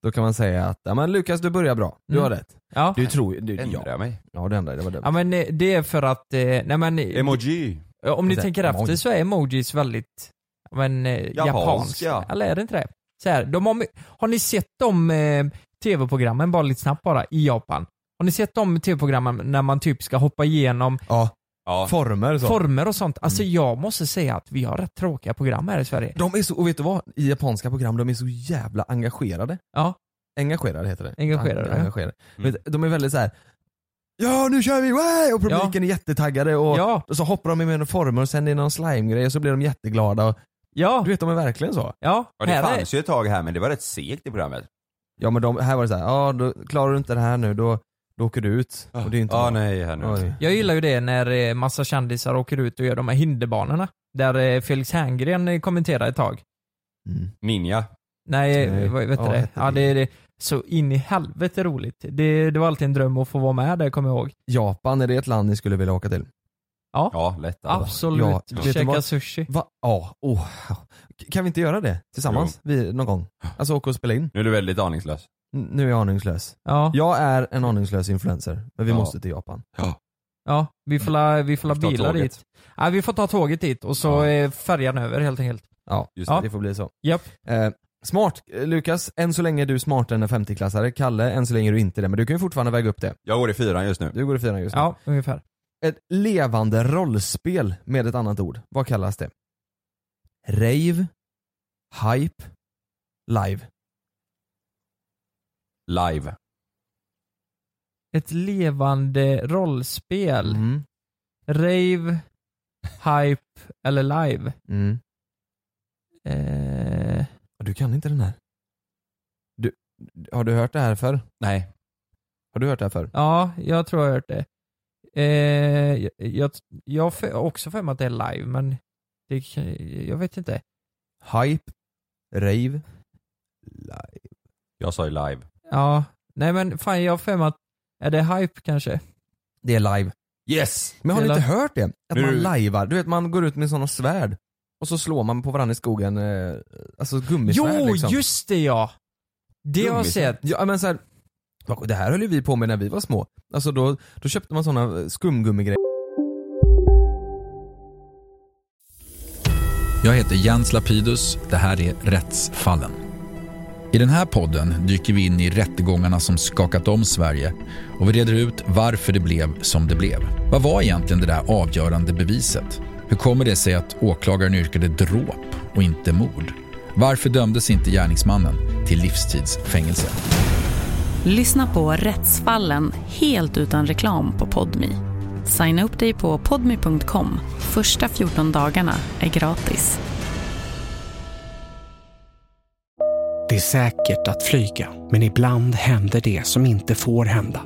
S5: Då kan man säga att, ja men Lukas du börjar bra, du
S6: Mm.
S5: har rätt.
S6: Ja.
S5: Du tror ju, du,
S2: Ändrar jag mig?
S5: Ja du ändrade, det var dumt.
S6: Ja men eh, det är för att, eh, nej men...
S2: Emoji.
S6: Ja, Om ni
S5: Så här,
S6: tänker
S5: emoji.
S6: efter så är emojis väldigt, ja, men eh,
S5: Japanska.
S6: japanska. Eller är det inte det? Så här, de har, my- har ni sett de eh, tv-programmen, bara lite snabbt bara, i Japan? Har ni sett de tv-programmen när man typ ska hoppa igenom
S5: Ja.
S2: Ja.
S5: Former och så. Mm.
S6: former och sånt? Alltså jag måste säga att vi har rätt tråkiga program här i Sverige.
S5: De är så, och vet du vad? I japanska program, de är så jävla engagerade.
S6: Ja.
S5: Engagerade heter det.
S6: Engagerade, ja.
S5: engagerade. Vet du, De är väldigt så här. Ja nu kör vi! Wow! Och publiken är jättetaggade och,
S6: Ja.
S5: och så hoppar de i med former och sen är det någon slimegrej och så blir de jätteglada. Och,
S6: ja.
S5: Du vet de är verkligen så.
S6: Ja,
S2: Ja, det fanns ju ett tag här men det var rätt segt i programmet.
S5: Ja men de, här var det så här, ja då klarar du inte det här nu då, då åker du ut. Och det är inte
S2: Ah,
S5: bra.
S2: nej, här nu.
S5: Oj.
S6: Jag gillar ju det när eh, massa kändisar åker ut och gör de här hinderbanorna. Där eh, Felix Herngren eh, kommenterar ett tag.
S5: Mm.
S2: Ninja.
S6: Nej, eh,
S2: Nej.
S6: vad vet du
S2: Ja,
S6: det?
S2: hette
S6: Ja, det är det. Så in i helvete roligt. Det, det var alltid en dröm att få vara med där, kommer jag ihåg.
S5: Japan, är det ett land ni skulle vilja åka till?
S6: Ja,
S2: ja lätt.
S6: Absolut.
S5: vet du
S6: Käka
S5: vad?
S6: sushi.
S5: Va? Ja, oh. Kan vi inte göra det tillsammans? Vi, någon gång? Alltså åka och spela in?
S2: Nu är du väldigt aningslös.
S5: N- Nu är jag aningslös.
S6: Ja.
S5: Jag är en aningslös influencer, men vi
S6: Ja.
S5: måste till Japan.
S6: Ja, vi får la, vi får la
S5: Vi får ta
S6: bilar
S5: tåget.
S6: dit. Ja, vi får ta tåget dit och så eh, färjan över helt enkelt.
S5: Ja, just det.
S6: Ja.
S5: Det får bli så.
S6: Japp.
S5: Eh, smart, eh, Lukas. Än så länge är du smartare än en 50-klassare. Kalle, än så länge är du inte det. Men du kan ju fortfarande väga upp det.
S2: Jag går i fyran just nu.
S5: Du går i fyran just nu.
S6: Ja, ungefär.
S5: Ett levande rollspel med ett annat ord. Vad kallas det? Rave, hype, live.
S2: Live.
S6: Ett levande rollspel.
S5: Mm.
S6: Rave, hype eller live.
S5: Mm.
S6: Eh,
S5: Du kan inte den här. Du, har du hört det här förr?
S2: Nej.
S5: Har du hört det här förr?
S6: ja, jag tror jag har hört det. Eh, jag- jag jag har för- också för mig att det är live, men det, kan- jag vet inte.
S5: Hype, rave,
S2: live. Jag sa ju live.
S6: Ja, nej men fan jag har för mig att, är det hype kanske?
S5: Det är live.
S2: Yes!
S5: Men har ni
S6: Det är
S5: inte
S6: live.
S5: hört det? Att
S6: Nu-
S5: man lajvar. Du vet man går ut med sådana svärd och så slår man på varandra i skogen, eh, alltså gummisvärd
S6: Jo,
S5: liksom.
S6: just det ja! Det har jag
S5: Gummisvärd.
S6: sett.
S5: Ja men så här, vad- det här höll ju vi på med när vi var små. Alltså då, då köpte man sådana skumgummigrejer.
S15: Jag heter Jens Lapidus. Det här är Rättsfallen. I den här podden dyker vi in i rättegångarna som skakat om Sverige och vi reder ut varför det blev som det blev. Vad var egentligen det där avgörande beviset? Hur kommer det sig att åklagaren yrkade dråp och inte mord? Varför dömdes inte gärningsmannen till livstidsfängelse?
S16: Lyssna på Rättsfallen helt utan reklam på Podmi. Signa upp dig på podmi.com. Första 14 dagarna är gratis.
S17: Det är säkert att flyga, men ibland händer det som inte får hända.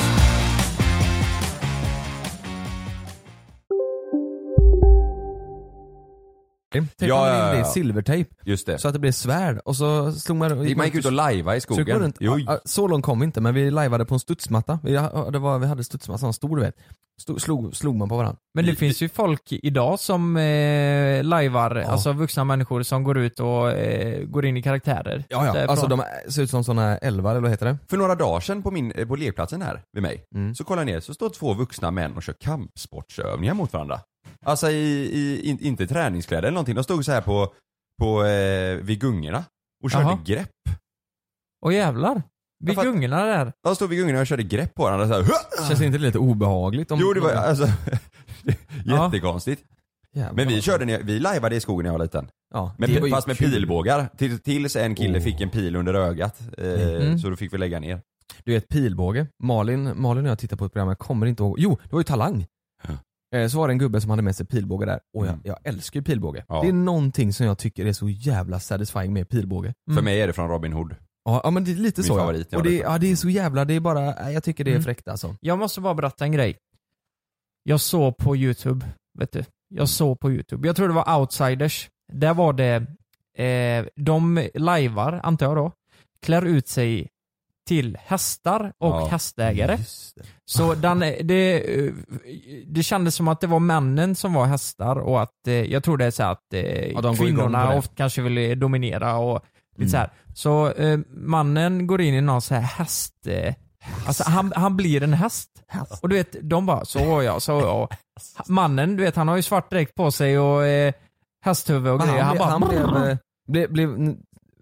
S5: Tejpade
S2: Ja, ja,
S5: in det i
S2: ja.
S5: silvertejp.
S2: Just det.
S5: Så att det blev svärd och så slog man...
S2: Man gick ut och lajva i skogen.
S5: Så gick man runt-
S2: Jo.
S5: ja, så långt kom vi inte men vi lajvade på en studsmatta. Vi, ja, det var, vi hade studsmatta, sån stor du vet. Stod, slog, slog man på varandra.
S6: Men det finns ju folk idag som eh, lajvar, alltså vuxna människor som går ut och eh, går in i karaktärer.
S5: Ja, ja.
S6: Därifrån.
S5: Alltså de ser ut som såna älvar eller vad heter det? Mm.
S2: För några dagar sedan på, min, eh, på lekplatsen här vid mig, så kollar jag ner så står två vuxna män och kör kampsportsövningar mot varandra. Alltså i, i in, inte träningskläder eller någonting, de stod så här på, på eh, vid gungorna och körde
S6: Jaha.
S2: grepp.
S6: Åh jävlar. Vid gungorna där.
S2: De stod vid gungorna och körde grepp på varandra så här. "Hua!"
S5: Känns inte det lite obehagligt? Om
S2: Jo det var
S5: om-
S2: alltså jättekonstigt.
S5: Jävlar.
S2: Men vi körde, när jag- vi lajvade i skogen när jag var liten.
S5: Ja,
S2: Men
S5: det
S2: pi-
S5: var ju
S2: fast med
S5: kul.
S2: pilbågar. Till, tills en kille fick en pil under ögat. Eh,
S5: Mm.
S2: Så då fick vi lägga ner.
S5: Du vet pilbåge, Malin, Malin och jag tittade på ett program, jag kommer inte ihåg. Jo, det var ju Talang. Eh, Så var det en gubbe som hade med sig pilbåge där. Och
S2: Mm.
S5: jag, jag älskar ju pilbåge. Det är någonting som jag tycker är så jävla satisfying med pilbåge. Mm.
S2: För mig är det från Robin Hood.
S5: Ja, ja men det är lite
S2: Min
S5: så. ja.
S2: favorit Mm. när jag var
S5: och det,
S2: liten.
S5: ja, det är så jävla, det är bara, nej, jag tycker det är
S6: Mm.
S5: fräckt alltså.
S6: Jag måste bara berätta en grej. Jag såg på YouTube, vet du. jag såg på YouTube. Jag tror det var Outsiders. Där var det, eh, de lajvar, antar jag då, klär ut sig till hästar och
S18: Ja,
S6: hästägare.
S5: Mm.
S6: Så den, det, eh, det kändes som att det var männen som var hästar och att, eh, jag tror det är så här att eh,
S5: de går igång på
S6: kvinnorna
S5: det.
S6: ofta kanske vill dominera och
S5: Mm.
S6: lite så här. Så eh, mannen går in i någon så här häst... Eh, alltså han, han blir en häst. Och du vet, de bara så var jag, så var jag. Mannen, du vet han har ju svart dräkt på sig och eh, hästhuvud och
S5: Men
S6: grejer. Han, bara...
S5: han blev, eh, blev, blev,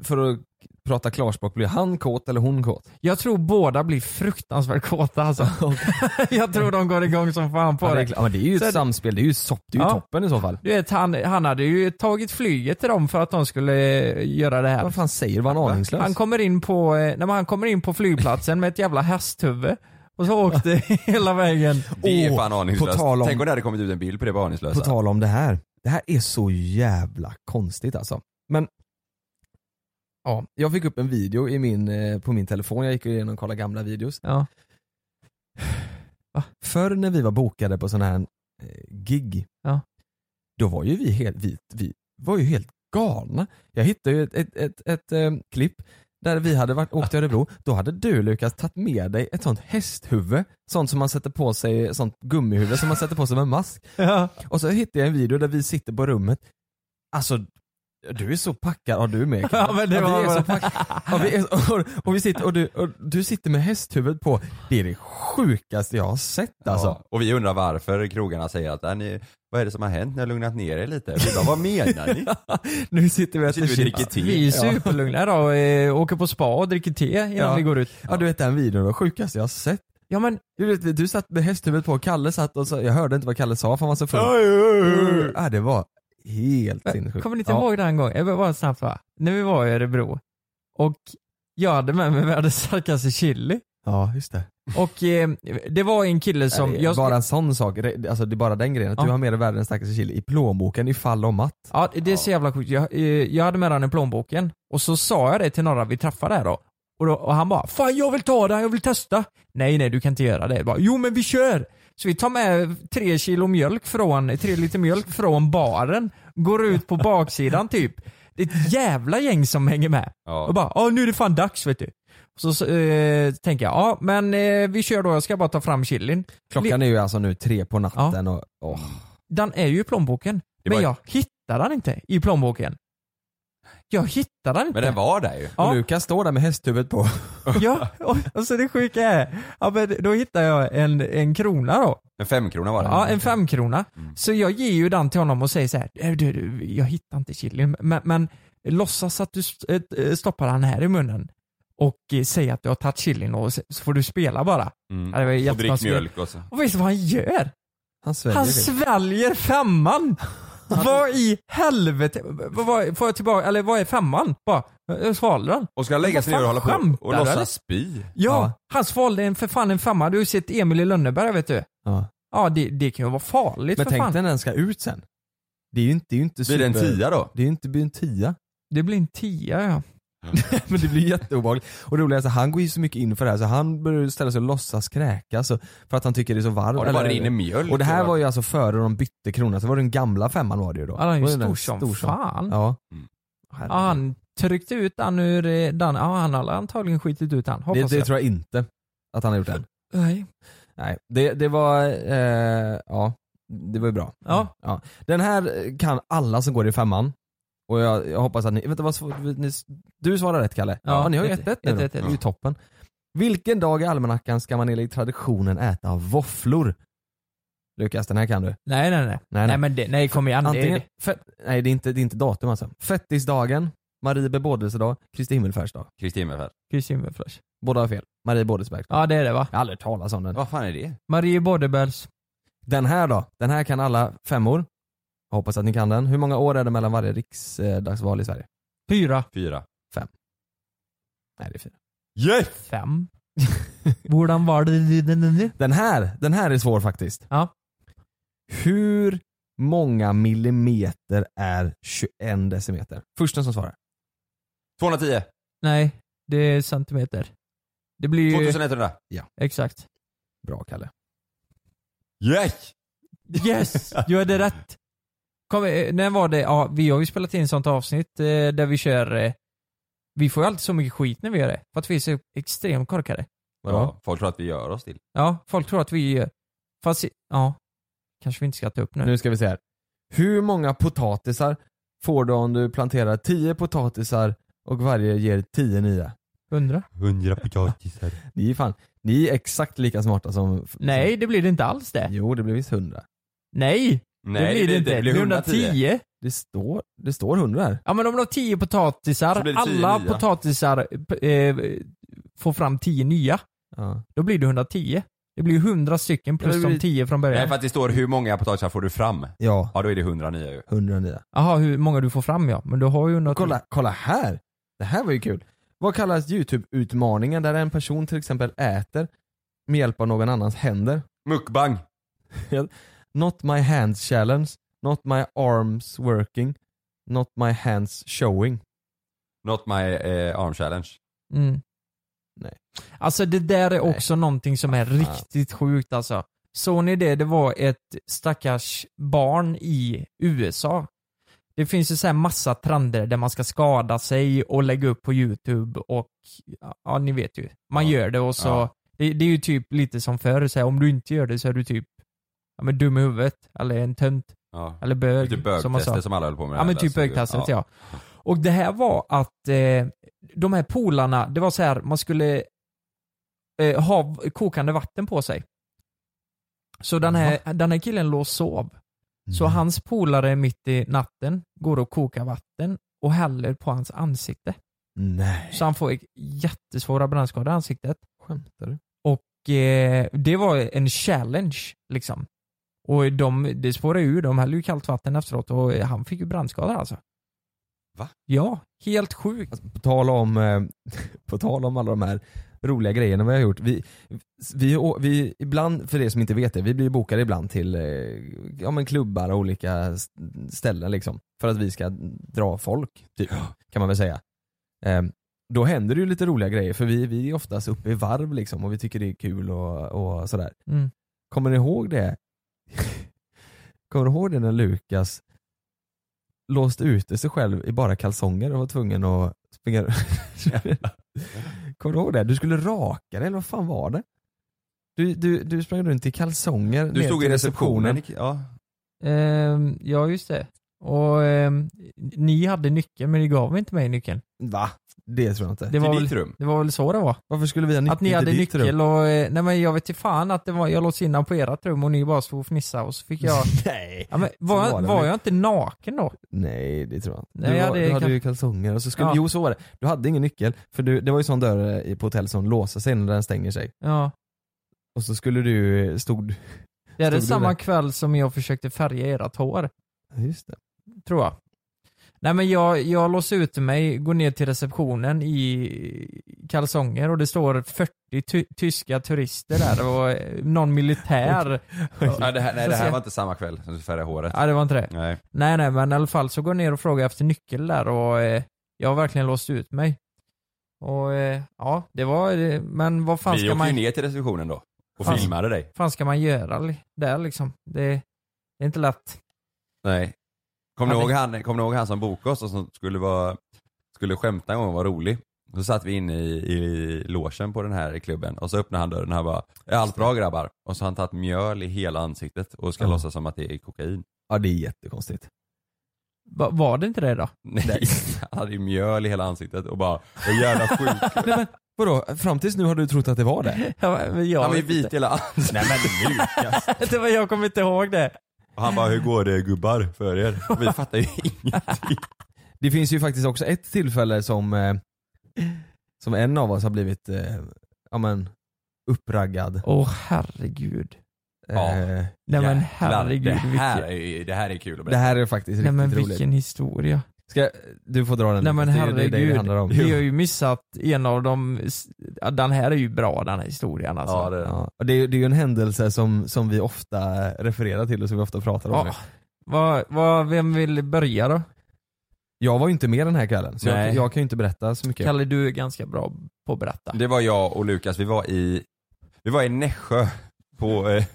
S5: för att prata klarspråk, blev han kåt eller hon kåt?
S6: Jag tror båda blir fruktansvärt kåta alltså. jag tror de går igång som fan på
S5: Ja, det är
S6: det.
S5: klart. Ja, men det är ju ett samspel, det är ju, sopp, det är ju
S6: Ja.
S5: toppen i så fall.
S6: Du vet, han, han hade ju tagit flyget till dem för att de skulle eh, göra det här. Vad
S5: fan säger du? Var han aningslös?
S6: Han kommer in på, eh, nej, men han kommer in på flygplatsen med ett jävla hästhuvud. Och så åkte hela vägen.
S2: Det är fan
S5: på
S2: aningslöst.
S5: tal om-
S2: Tänk om det hade kommit ut en bild på det på aningslösa.
S5: På
S6: alltså.
S5: tal om det här. Det här är så jävla konstigt alltså. Men Ja, jag fick upp en video i min, eh, på min telefon, jag gick igenom och kollade gamla videos.
S6: Ja.
S5: Förr när vi var bokade på sådana här eh, gig,
S6: Ja.
S5: då var ju vi helt, vi, vi var ju helt galna. Jag hittade ju ett, ett, ett, ett eh, klipp där vi hade varit, åkt till Örebro, då hade du Lukas tagit med dig ett sånt hästhuvud, sånt som man sätter på sig, sånt gummihuvud som man sätter på sig med mask. Och så hittade jag en video där vi sitter på rummet, alltså du är så packad, ja du med.
S6: Ja, men det var
S5: vi är
S6: bara-
S5: så packade. Ja, vi är, och, och, vi sitter, och, du, och du sitter med hästhuvudet på, det är det sjukaste jag har sett alltså.
S2: Ja, och vi undrar varför krogarna säger att "Äh, ni, vad är det som har hänt? Ni har lugnat ner er lite. Vi bara, vad menar ni?
S5: nu sitter vi och
S2: äter chips. dricker te.
S6: Vi är
S2: Ja.
S6: superlugna idag och eh, åker på spa och dricker te innan
S5: Ja.
S6: vi går ut.
S5: Ja du vet den videon var sjukaste jag har sett.
S6: Ja, men...
S5: du, vet, du satt med hästhuvudet på och Kalle satt och så, jag hörde inte vad Kalle sa för han var så full.
S6: Aj, aj, aj.
S5: Ja, det var helt sinnessjukt.
S6: Kommer ni inte
S5: ja.
S6: ihåg den gången? Jag vill bara snabbt va? När vi var i Örebro och jag hade med mig världens starkaste chili.
S5: Ja just det.
S6: Och eh, det var en kille som...
S5: Nej, Bara en sån sak, det- alltså det är bara den grejen att
S6: Ja.
S5: du har med dig världens starkaste chili i plånboken ifall om att.
S6: Ja, det är så jävla sjukt. Jag, eh, jag hade med den i plånboken och så sa jag det till några vi träffade här då. Och, då, och han bara 'Fan jag vill ta den, jag vill testa' Nej nej du kan inte göra det. Jag bara, jo men vi kör! Så vi tar med tre kilo mjölk från, tre liter mjölk från baren, går ut på baksidan typ. Det är ett jävla gäng som hänger med.
S2: Ja.
S6: Och bara 'Åh nu är det fan dags' vet du. Så, så eh, tänker jag 'Ja men eh, vi kör då, jag ska bara ta fram chilin'
S5: Klockan är ju alltså nu tre på natten och åh.
S6: Den är ju i plånboken.
S5: Det
S6: Men
S5: var-
S6: jag hittar den inte i plånboken. Jag hittar den inte.
S5: Men den
S2: var där ju.
S6: Ja.
S5: Och Lukas står där med hästhuvudet på.
S6: Ja, och, alltså det sjuka är, ja, men då hittar jag en, en krona då.
S2: En femkrona var det.
S6: Ja, en femkrona. Så jag ger ju den till honom och säger så här, "Eh, du, du, jag hittar inte chilin, men, men låtsas att du st- eh, eh, stoppar den här i munnen och eh, säger att du har tagit chilin och s- så får du spela bara.
S2: Mm.
S6: Ja, det var
S2: och drick
S6: jättekonstigt.
S2: mjölk och så.
S6: Och vet du vad han gör?
S5: Han sväljer
S6: Han
S5: det.
S6: sväljer femman! Vad i helvete? Vad- vad- Får jag tillbaka, eller vad är femman? Bara, jag svalde den.
S2: Och ska han lägga sig ner och hålla på och
S6: Skämtar du,
S2: låtsas spy?
S6: Ja, han svalde en, för fan en femma. Du har ju sett Emil i Lönneberga vet du.
S5: Ja.
S6: Ja, det, det kan ju vara farligt
S5: Men
S6: för
S5: tänk
S6: fan.
S5: dig när den ska ut sen. Det är ju inte, det är ju inte
S6: Blir det en tia
S2: då?
S5: Det är ju inte blir en tia.
S6: Det blir en tia ja.
S5: Men det blir jätteobehagligt. Och det roliga är att han går ju så mycket in för det här så han börjar ju ställa sig och låtsas kräkas och- för att han tycker det är så varmt.
S2: Ja, det bara rinner mjölk
S5: Och det här
S2: och-
S5: var ju alltså före de bytte krona, så var det den gamla femman var det ju då.
S6: Ja, den är ju
S5: Var det
S6: stor som Mm. fan.
S5: Ja.
S6: Ja, han tryckte ut den ur eh, den. Ja, han har antagligen skitit ut den.
S5: Det,
S6: Hoppas
S5: det tror jag inte att han har gjort än.
S6: Nej.
S5: Nej, det, det var, eh, ja, det var ju bra. Mm,
S6: Ja.
S5: ja. Den här kan alla som går i femman. Och jag, jag hoppas att ni, vänta vad svar- ni, du svarar rätt Kalle?
S6: Ja,
S5: ni har ju
S6: ett-
S5: 1-1 nu då.
S6: ett- ett-
S5: Det
S6: ett.
S5: är ju toppen. Vilken dag i almanackan ska man enligt traditionen äta våfflor? Lukas, den här kan du.
S6: Nej, nej, nej.
S5: nej.
S6: Nej, men det, nej, kom igen.
S5: Antingen,
S6: det,
S5: fe, nej det är, inte, det är inte datum alltså. Fettisdagen, Marie bebådelsedag, Kristi himmelfärdsdag.
S2: Kristi himmelfärd.
S6: Kristi himmelfärdsdag.
S5: Båda har fel. Marie Bådesbergsdag.
S6: Ja det är det va?
S5: Jag har aldrig talat om den.
S2: Vad fan är det?
S6: Marie Bodebels.
S5: Den här då? Den här kan alla femmor. Jag hoppas att ni kan den. Hur många år är det mellan varje riksdagsval i Sverige?
S6: Fyra.
S2: Fyra.
S5: Fem. Nej det är fyra.
S2: Yes!
S6: Fem. Hvordan var det?
S5: Den här, den här är svår faktiskt.
S6: Ja.
S5: Hur många millimeter är 21 decimeter? Försten som svarar.
S2: 210.
S6: Nej, det är centimeter. Det blir ju...
S2: 2100.
S5: Ja.
S6: Exakt.
S5: Bra Kalle.
S2: Yes!
S6: Yes! Du hade rätt. Kom, eh, när var det? Ja, vi har ju spelat in sånt avsnitt eh, där vi kör... Eh, vi får ju alltid så mycket skit när vi gör det. För att vi är så extremt korkade.
S2: Ja, folk tror att vi gör oss till.
S6: Ja, folk tror att vi... Fast, ja. Kanske vi inte ska ta upp nu.
S5: Nu ska vi se här. Hur många potatisar får du om du planterar 10 potatisar och varje ger 10 nya?
S6: 100?
S5: 100 potatisar. Ni är fan, ni är exakt lika smarta som...
S6: Nej, det blir det inte alls det.
S5: Jo, det blir visst 100.
S6: Nej! det blir det inte. Det blir 110.
S5: Det står, det står 100 här.
S6: Ja men om de har 10 potatisar,
S5: Så blir det 10
S6: alla
S5: nya.
S6: potatisar eh, får fram 10 nya. Då blir det 110. Det blir ju 100 stycken plus
S2: Ja, det blir-
S6: de 10 från
S2: Nej
S6: början.
S2: för att det står hur många potatisar får du fram?
S5: Ja.
S2: Ja då är det 100 nya ju.
S5: 100 nya.
S6: Jaha, hur många du får fram ja. Men du har ju 110.
S5: Kolla, kolla här! Det här var ju kul. Vad kallas YouTube-utmaningen där en person till exempel äter med hjälp av någon annans händer?
S2: Mukbang!
S5: not my hands challenge, not my arms working, not my hands showing.
S2: Not my eh, arm challenge.
S6: Mm.
S5: Nej.
S6: Alltså det där är också någonting som är riktigt sjukt alltså. Såg ni det? Det var ett stackars barn i USA. Det finns ju så här massa trender där man ska skada sig och lägga upp på YouTube och ja, ni vet ju. Man gör det och så.
S18: Ja.
S6: Det, det är ju typ lite som förr, så här, om du inte gör det så är du typ ja, men dum i huvudet eller en tönt.
S2: Ja.
S6: Eller bög.
S2: Typ
S6: som man
S2: bögtester
S6: sa.
S2: som alla höll på med.
S6: Ja men
S2: där,
S6: typ
S2: så-
S6: bögtestet ja.
S2: ja.
S6: Och det här var att eh, de här polarna, det var så här, man skulle eh, ha v- kokande vatten på sig. Så den här, den här killen låg och sov. Så hans polare mitt i natten går och kokar vatten och häller på hans ansikte.
S5: Nej.
S6: Så han får jättesvåra brännskador i ansiktet.
S5: Skämtar du?
S6: Och eh, det var en challenge liksom. Och de, det spårade ur, de hällde ju kallt vatten efteråt och eh, han fick ju brännskador alltså.
S2: Va?
S6: Ja, helt sjukt.
S5: På tal om, eh, på tal om alla de här roliga grejerna vi har gjort. Vi, vi, vi, ibland, för er som inte vet det, vi blir bokade ibland till eh, ja, men klubbar och olika s- ställen liksom. För att vi ska dra folk, typ, kan man väl säga. Eh, då händer det ju lite roliga grejer för vi, vi är oftast uppe i varv liksom och vi tycker det är kul och, och sådär.
S6: Mm.
S5: Kommer ni ihåg det? Kommer du ihåg det när Lukas låste ute sig själv i bara kalsonger och var tvungen att springa Kommer du ihåg det? Du skulle raka dig eller vad fan var det? Du, du, du sprang runt i kalsonger
S2: Du
S5: ner
S2: stod i
S5: till
S2: receptionen. Ja.
S6: Ehm, ja, just det. Och ehm, ni hade nyckeln men ni gav inte mig nyckeln.
S5: Va? Det tror jag inte.
S6: Det var, väl, det var väl så det var?
S5: Varför skulle vi ha nyckel
S6: Att ni
S5: till
S6: hade
S5: ditt
S6: nyckel
S5: rum?
S6: och, eh, nej men jag vet inte fan att det var, jag låste in den på ert rum och ni bara stod och fnissade och så fick jag...
S5: nej.
S6: Ja, men var,
S5: Så
S6: jag-
S5: var det
S6: var
S5: väl
S6: jag inte naken då?
S5: Nej det tror jag inte.
S6: Nej,
S5: du, var-
S6: jag hade
S5: du hade
S6: kal-
S5: ju kalsonger och så skulle,
S6: Ja.
S5: jo så var det. Du hade ingen nyckel för du, det var ju sån dörr i- på hotell som låser sig när den stänger sig.
S6: Ja.
S5: Och så skulle du, stod,
S6: Det är
S5: stod du
S6: det samma
S5: där.
S6: kväll som jag försökte färga ert hår.
S5: Ja, Just det.
S6: Tror jag. Nej men jag, jag låser ut mig, går ner till receptionen i kalsonger och det står 40 ty- tyska turister där och eh, någon militär.
S2: Ja, det här, nej
S6: Så
S2: det här
S6: ser-
S2: var inte samma kväll som du färgade håret.
S6: Ja det var inte det.
S2: Nej.
S6: Nej nej men i alla fall så går jag ner och frågar efter nyckel där och eh, jag har verkligen låst ut mig. Och eh, ja, det var, eh, men vad fan
S2: Vi
S6: ska
S2: åkte ju
S6: man,
S2: ner till receptionen då. Och
S6: Fan.
S2: filmade dig.
S6: fan ska man göra li- där liksom? Det, det är inte lätt.
S2: Nej. Kommer ni,
S6: Ja,
S2: ihåg
S6: det-
S2: han, kom ni ihåg han som bokade oss och som skulle, vara, skulle skämta en gång och vara rolig? Så satt vi inne i, i logen på den här klubben och så öppnade han dörren och han bara "Är allt bra grabbar? Och så har han tagit mjöl i hela ansiktet och ska
S5: Ja.
S2: låtsas som att det är kokain.
S5: Ja det är jättekonstigt.
S6: Va, var det inte det då?
S2: Nej, han hade ju mjöl i hela ansiktet och bara "Vad jävla sjuk.
S5: Vadå, fram tills nu har du trott att det var det?
S6: Ja, men jag
S2: Han var ju
S6: vet
S2: vit i
S6: inte.
S2: hela ansiktet. Nej men Lukas.
S6: det var, jag kommer inte ihåg det.
S2: Och han bara hur går det gubbar för er? Och vi fattar ju ingenting.
S5: Det finns ju faktiskt också ett tillfälle som, eh, som en av oss har blivit eh, ja, men, uppraggad.
S6: Åh herregud.
S2: Ja.
S5: Eh,
S6: Nej men
S2: Jäklar,
S6: herregud
S2: det här,
S6: vilken-
S2: är, det här är kul att
S5: det
S2: berätta.
S5: här är faktiskt
S6: Nej
S5: riktigt
S6: men
S5: roligt.
S6: vilken historia.
S5: Ska, du får dra den.
S6: Nej men
S5: Lukas. det är ju det, det
S6: herregud.
S5: handlar om.
S6: Vi har ju missat en av de, ja, den här är ju bra den här historien alltså.
S2: Ja, det är det.
S5: Ja, och det, är, det är ju en händelse som, som vi ofta refererar till och som vi ofta pratar om.
S6: Ja.
S5: nu.
S6: Vad, vad, vem vill börja då?
S5: Jag var ju inte med den här kvällen så jag,
S2: Nej.
S5: jag kan ju inte berätta så mycket.
S6: Kalle du är ganska bra på att berätta.
S2: Det var jag och Lukas, vi var i, vi var i Nässjö på, eh,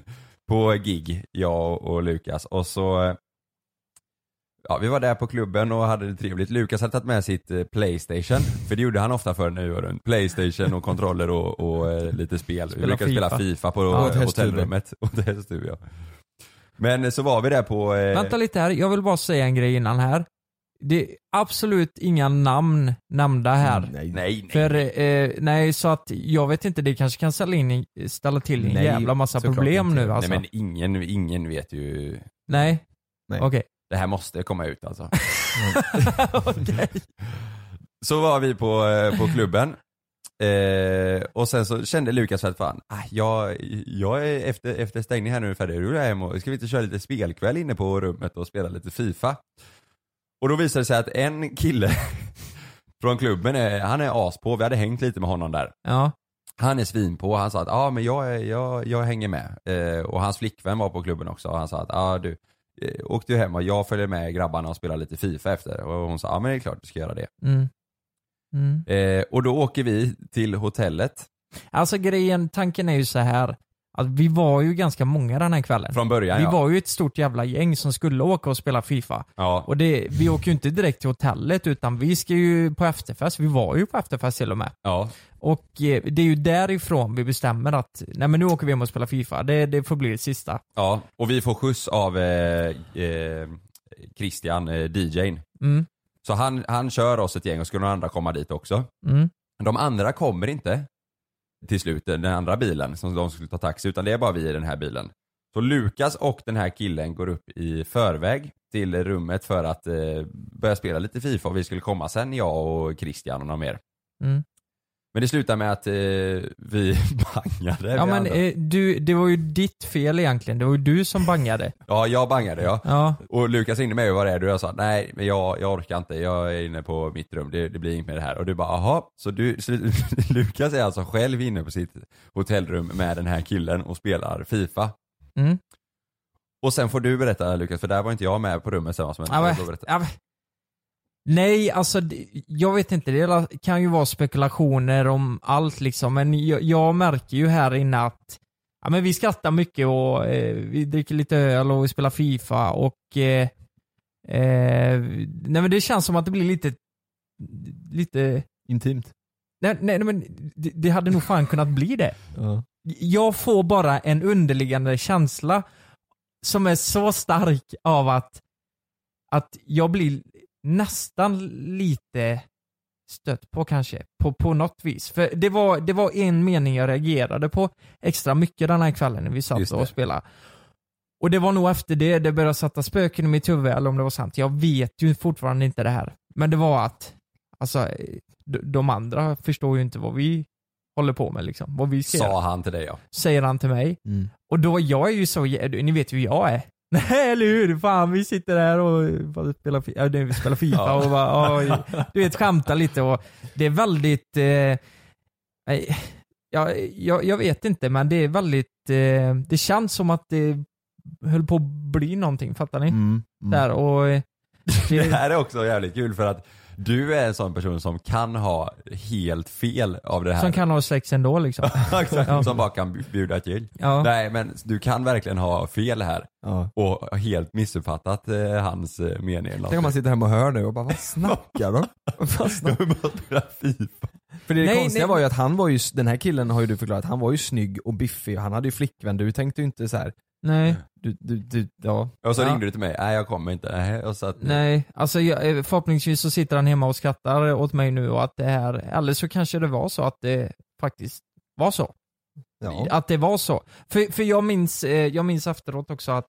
S2: på gig, jag och Lukas. Och så eh,
S5: Ja, vi var där på klubben och hade det trevligt. Lukas hade tagit med sitt eh, Playstation, för det gjorde han ofta förr nu åren. Playstation och kontroller och, och eh, lite spel. vi
S19: Spela
S5: brukade spela
S19: FIFA.
S5: FIFA på
S19: Ja, åt
S5: hotellrummet. Åt hästhuv, ja. Men eh, så var vi där på... eh,
S6: Vänta lite här, jag vill bara säga en grej innan här. Det är absolut inga namn nämnda här.
S5: Nej, nej.
S6: För, eh, nej, så att jag vet inte, det kanske kan ställa, in, ställa till en
S5: Nej,
S6: jävla massa
S5: såklart
S6: problem
S5: inte.
S6: nu alltså.
S5: Nej men ingen, ingen vet ju.
S6: Nej. Okej.
S5: Det här måste komma ut alltså. Så var vi på, eh, på klubben. Eh, och sen så kände Lukas att fan, ah, jag, jag är efter, efter stängning här nu ungefär, då vill jag hem och ska vi inte köra lite spelkväll inne på rummet och spela lite FIFA? Och då visade det sig att en kille från klubben, är, han är as på. vi hade hängt lite med honom där.
S6: Ja.
S5: Han är svin på. Han sa att ah, men jag, är- jag, jag hänger med. Eh, och hans flickvän var på klubben också. Och han sa att ah, du eh, åkte ju hem och jag följer med grabbarna och spelar lite FIFA efter. Och hon sa ja ah, men det är klart du ska göra det.
S6: Mm. Mm.
S5: Eh, och då åker vi till hotellet
S6: Alltså grejen, tanken är ju så här att vi var ju ganska många den här kvällen.
S5: från början.
S6: vi
S5: ja.
S6: var ju ett stort jävla gäng som skulle åka och spela FIFA.
S5: Ja.
S6: Och det, vi åker ju inte direkt till hotellet utan vi ska ju på efterfest. Vi var ju på efterfest till och med.
S5: Ja.
S6: Och eh, det är ju därifrån vi bestämmer att nej men nu åker vi hem och spelar FIFA. Det, det får bli det sista.
S5: ja, och vi får skjuts av eh, eh, Christian, eh, DJn.
S6: Mm.
S5: Så han, han kör oss ett gäng och skulle några andra komma dit också.
S6: Mm.
S5: De andra kommer inte till slut, den andra bilen som de skulle ta taxi, utan det är bara vi i den här bilen. Så Lukas och den här killen går upp i förväg till rummet för att eh, börja spela lite Fifa och vi skulle komma sen, jag och Christian och några mer.
S6: Mm.
S5: Men det slutar med att eh, vi bangade.
S6: Ja
S5: vi
S6: men
S5: andra.
S6: eh, du, det var ju ditt fel egentligen. Det var ju du som bangade.
S5: Ja, jag bangade ja.
S6: Ja.
S5: Och Lukas ringde mig och var rädd och jag sa nej, men jag, jag orkar inte, jag är inne på mitt rum, det, det blir inget med det här. Och du bara aha, så, du, så Lukas är alltså själv inne på sitt hotellrum med den här killen och spelar Fifa.
S6: Mm.
S5: Och sen får du berätta Lukas, för där var inte jag med på rummet sen vad som hände.
S6: Ja, men-
S5: Då berätta.
S6: ja, men- Nej, alltså det- jag vet inte. Det kan ju vara spekulationer om allt liksom. Men jag, jag märker ju här inne att ja, men vi skrattar mycket och eh, vi dricker lite öl och vi spelar Fifa och eh, eh, nej, men det känns som att det blir lite... lite
S2: Intimt.
S6: Nej, nej, nej men det, det hade nog fan kunnat bli det. Jag får bara en underliggande känsla som är så stark av att, att jag blir nästan lite stött på kanske, på, på något vis. För det var, det var en mening jag reagerade på extra mycket den här kvällen när vi satt
S2: Just det.
S6: och spelade. Och det var nog efter det det började sätta spöken i mitt huvud, eller om det var sant. Jag vet ju fortfarande inte det här. Men det var att, alltså, eh, d- de andra förstår ju inte vad vi håller på med liksom. Vad vi ska
S5: Sa
S6: göra.
S5: han till dig ja.
S6: Säger han till mig.
S2: Mm.
S6: Och då, jag är ju så, jä- ni vet ju hur jag är. Nej eller hur? Fan vi sitter här och bara spelar, fi- ja, nej, vi spelar FIFA
S2: Ja.
S6: och bara, oj, du vet skämtar lite och det är väldigt, eh, nej, jag, jag, jag vet inte men det är väldigt, eh, det känns som att det höll på att bli någonting, fattar ni?
S2: Mm,
S6: Där och eh,
S5: Det här är också jävligt kul för att du är en sån person som kan ha helt fel av det här.
S6: som kan ha sex ändå liksom.
S5: Exakt,
S6: Ja.
S5: som bara kan bjuda till.
S6: Ja.
S5: Nej men du kan verkligen ha fel här och helt missuppfattat eh, hans eh, mening. eller
S2: Tänk om man
S5: någonting.
S2: sitter hemma och hör nu och bara vad snackar de? Vad snackar de? För det
S6: Nej,
S2: konstiga
S6: nej.
S2: var ju att han var ju, den här killen har ju du förklarat, han var ju snygg och biffig och han hade ju flickvän, du tänkte ju inte så här.
S6: Nej.
S2: Du, du, du, ja.
S5: Och så
S2: ja.
S5: ringde du till mig, nej jag kommer inte. Nej, och så att, eh,
S6: Nej, alltså jag, eh, förhoppningsvis så sitter han hemma och skrattar åt mig nu och att det här, eller så kanske det var så att det faktiskt var så. Att det var så. För, för jag, minns, eh, jag minns efteråt också att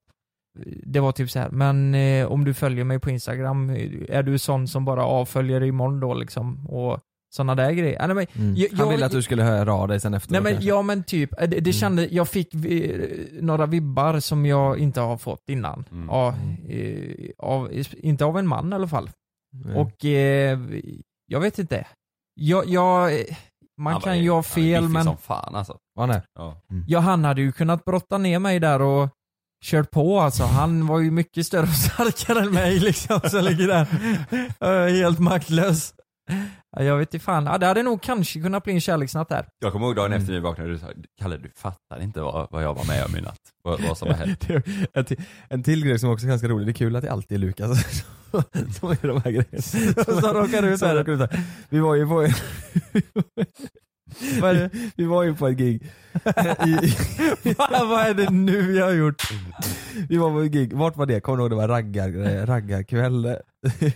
S6: eh, det var typ så här, men eh, om du följer mig på Instagram, eh, är du sån som bara avföljer imorgon då liksom? Och sådana där grejer. Ah, Nej, men,
S2: Mm.
S6: jag,
S2: han
S6: jag,
S2: ville att du skulle höra av dig sen efter
S6: Nej men, ja men typ, Eh, det, det kände, jag fick eh, några vibbar som jag inte har fått innan.
S5: mm.
S6: Ja, eh, av, inte av en man i alla fall.
S5: Mm.
S2: Nej.
S6: Och eh, jag vet inte. Jag, jag, eh, man
S5: Han
S6: kan
S5: var-
S6: ju ha
S5: han är
S6: fel
S5: biffig
S6: men...
S5: som fan alltså.
S2: Var han
S5: Ja.
S6: Ja han hade ju kunnat brotta ner mig där och kört på alltså. Han var ju mycket större och starkare än mig liksom. Så jag ligger där eh, helt maktlös. Ja, Jag vet inte fan. Ja, det hade nog kanske kunnat bli en kärleksnatt där.
S5: Jag kommer ihåg dagen
S2: Mm.
S5: efter vi vaknade och du sa Kalle du fattar inte vad, vad jag var med om i natt. Vad, vad som har hänt.
S2: Det är en, till, en till grej som också är ganska rolig, det är kul att det alltid är Lukas som- som gör de här grejerna.
S6: Som råkar ut
S2: Som
S6: här.
S2: råkar ut här. Vi var ju på
S6: Vad är det?
S2: Vi var ju på ett gig. I,
S6: Fan, vad är det nu jag har gjort?
S2: vi var på ett gig, vart var det? Kommer du ihåg det var raggar, raggarkväll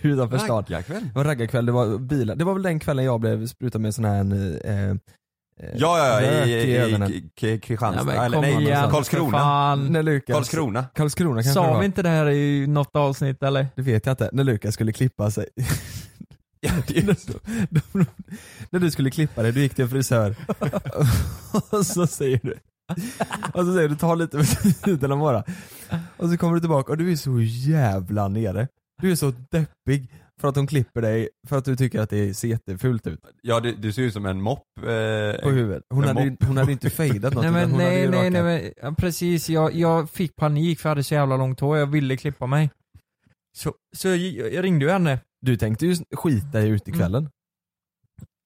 S2: utanför stan?
S5: Raggarkväll?
S2: Det var raggarkväll, det var bilar. Det var väl den kvällen jag blev sprutad med en sån här eh, eh,
S5: Ja, ja, ja,
S2: rök
S5: i, i,
S2: ögonen.
S5: i, i Kristianstad.
S2: Ja, men
S5: eller
S2: kom
S5: nej,
S2: igen, för
S5: Karlskrona.
S6: fan.
S2: alltså, När Lukas,
S5: Karlskrona.
S2: Karlskrona kanske det
S6: Sa
S2: var.
S6: vi inte det här i något avsnitt eller?
S2: Det vet jag inte. När Lukas skulle klippa sig. När du skulle klippa dig, du gick till en frisör. och så säger du, och så säger du ta lite för tiden bara. Och så kommer du tillbaka och du är så jävla nere. Du är så deppig för att hon klipper dig för att du tycker att det ser jättefult ut.
S5: Ja, du, du ser ut som en mopp. Eh,
S2: På huvudet. Hon
S5: en
S2: hade ju-
S5: mopp på
S2: hon hade ju inte
S5: huvudet.
S2: fejdat något,
S6: Nej men
S2: hon hade
S6: nej
S2: ju
S6: nej,
S2: rakat.
S6: nej men ja, precis, jag, jag fick panik för jag hade så jävla långt hår, jag ville klippa mig. Så, så jag, jag ringde ju henne.
S2: Du tänkte ju skita i utekvällen. Du,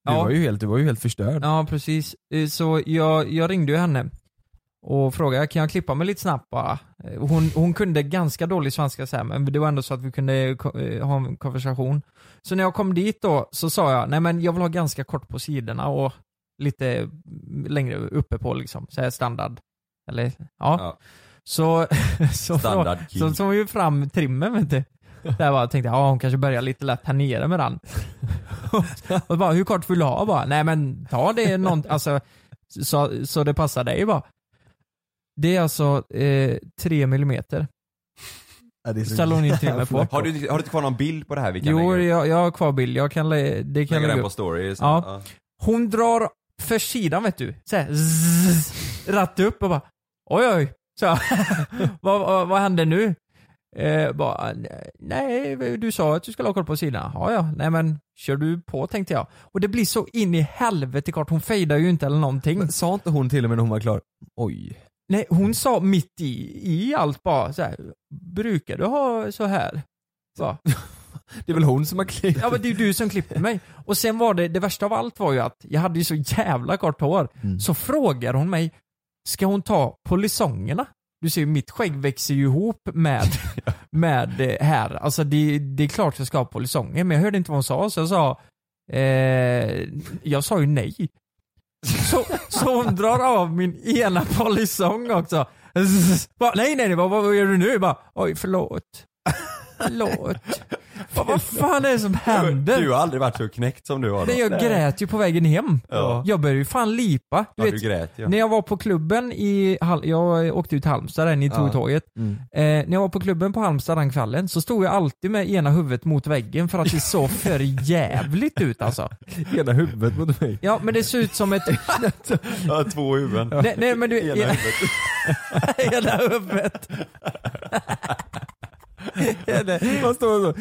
S6: Ja.
S2: var ju helt, du var ju helt förstörd.
S6: Ja precis, Eh, så jag, jag ringde ju henne och frågade kan jag klippa mig lite snabbt bara? Eh, Hon, hon kunde ganska dålig svenska så här, men det var ändå så att vi kunde ko- eh, ha en konversation. Så när jag kom dit då så sa jag, nej men jag vill ha ganska kort på sidorna och lite längre uppe på liksom, så här standard. Eller ja. Så, så,
S5: Standard
S6: frå-
S5: key.
S6: så tog hon ju fram trimmen vet du. Där bara tänkte jag, ja hon kanske börjar lite lätt här nere med den. och bara, hur kort vill du ha? Bara, nej men ta det någon, alltså, så, så det passar dig bara. Det är alltså eh, 3 millimeter.
S2: Ja, det är så
S6: Ställer hon in
S2: jävla
S6: trimmer på.
S5: Har du, har du inte kvar någon bild på det här vi kan
S6: Jo,
S5: lägga upp?
S6: jag, jag har kvar bild. Jag kan, lä- det
S5: Lägga
S6: kan
S5: den
S6: jag lägga
S5: på
S6: upp.
S5: story.
S6: Ja.
S5: Ja.
S6: Hon drar för sidan vet du. Så här, zzz, ratt upp och bara oj oj. Så, här, vad, vad, vad hände nu? Eh, bara, nej, du sa att du skulle ha koll på sidan. Ja, ja, nej men kör du på tänkte jag. Och det blir så in i helvete kort, hon fejdar ju inte eller någonting. Men
S2: sa inte hon till och med när hon var klar, oj.
S6: Nej, hon sa mitt i, i allt bara så här, brukar du ha så här? Bara.
S2: Det är väl hon som har klippt?
S6: Ja men det är ju du som klippte mig. Och sen var det, det värsta av allt var ju att jag hade ju så jävla kort hår. Så frågar hon mig, ska hon ta polisongerna? Du ser ju mitt skägg växer ju ihop med, med eh, här. Alltså det, det är klart jag ska ha polisonger men jag hörde inte vad hon sa så jag sa, eh, jag sa ju nej. Så, så hon drar av min ena polisong också. Zzz. Bara, nej nej nej, vad, vad gör du nu? Bara, oj förlåt. Förlåt. Vad, vad fan är det som händer?
S5: Du har aldrig varit så knäckt som du har. då.
S6: Nej, jag grät ju på vägen hem.
S5: Ja.
S6: Jag började ju fan lipa.
S5: Ja, du grät, ja.
S6: När jag var på klubben i, Hal- jag åkte ut till Halmstad där, ni tog
S2: Ja.
S6: tåget.
S2: Mm.
S6: Eh, när jag var på klubben på Halmstad den kvällen så stod jag alltid med ena huvudet mot väggen för att det såg för jävligt ut alltså.
S2: Ena huvudet mot mig.
S6: Ja men det ser ut som ett...
S5: Ja, två huvuden.
S6: nej, nej men du...
S5: Ena
S6: ja.
S5: huvudet.
S6: Ena huvudet.
S2: Man står så.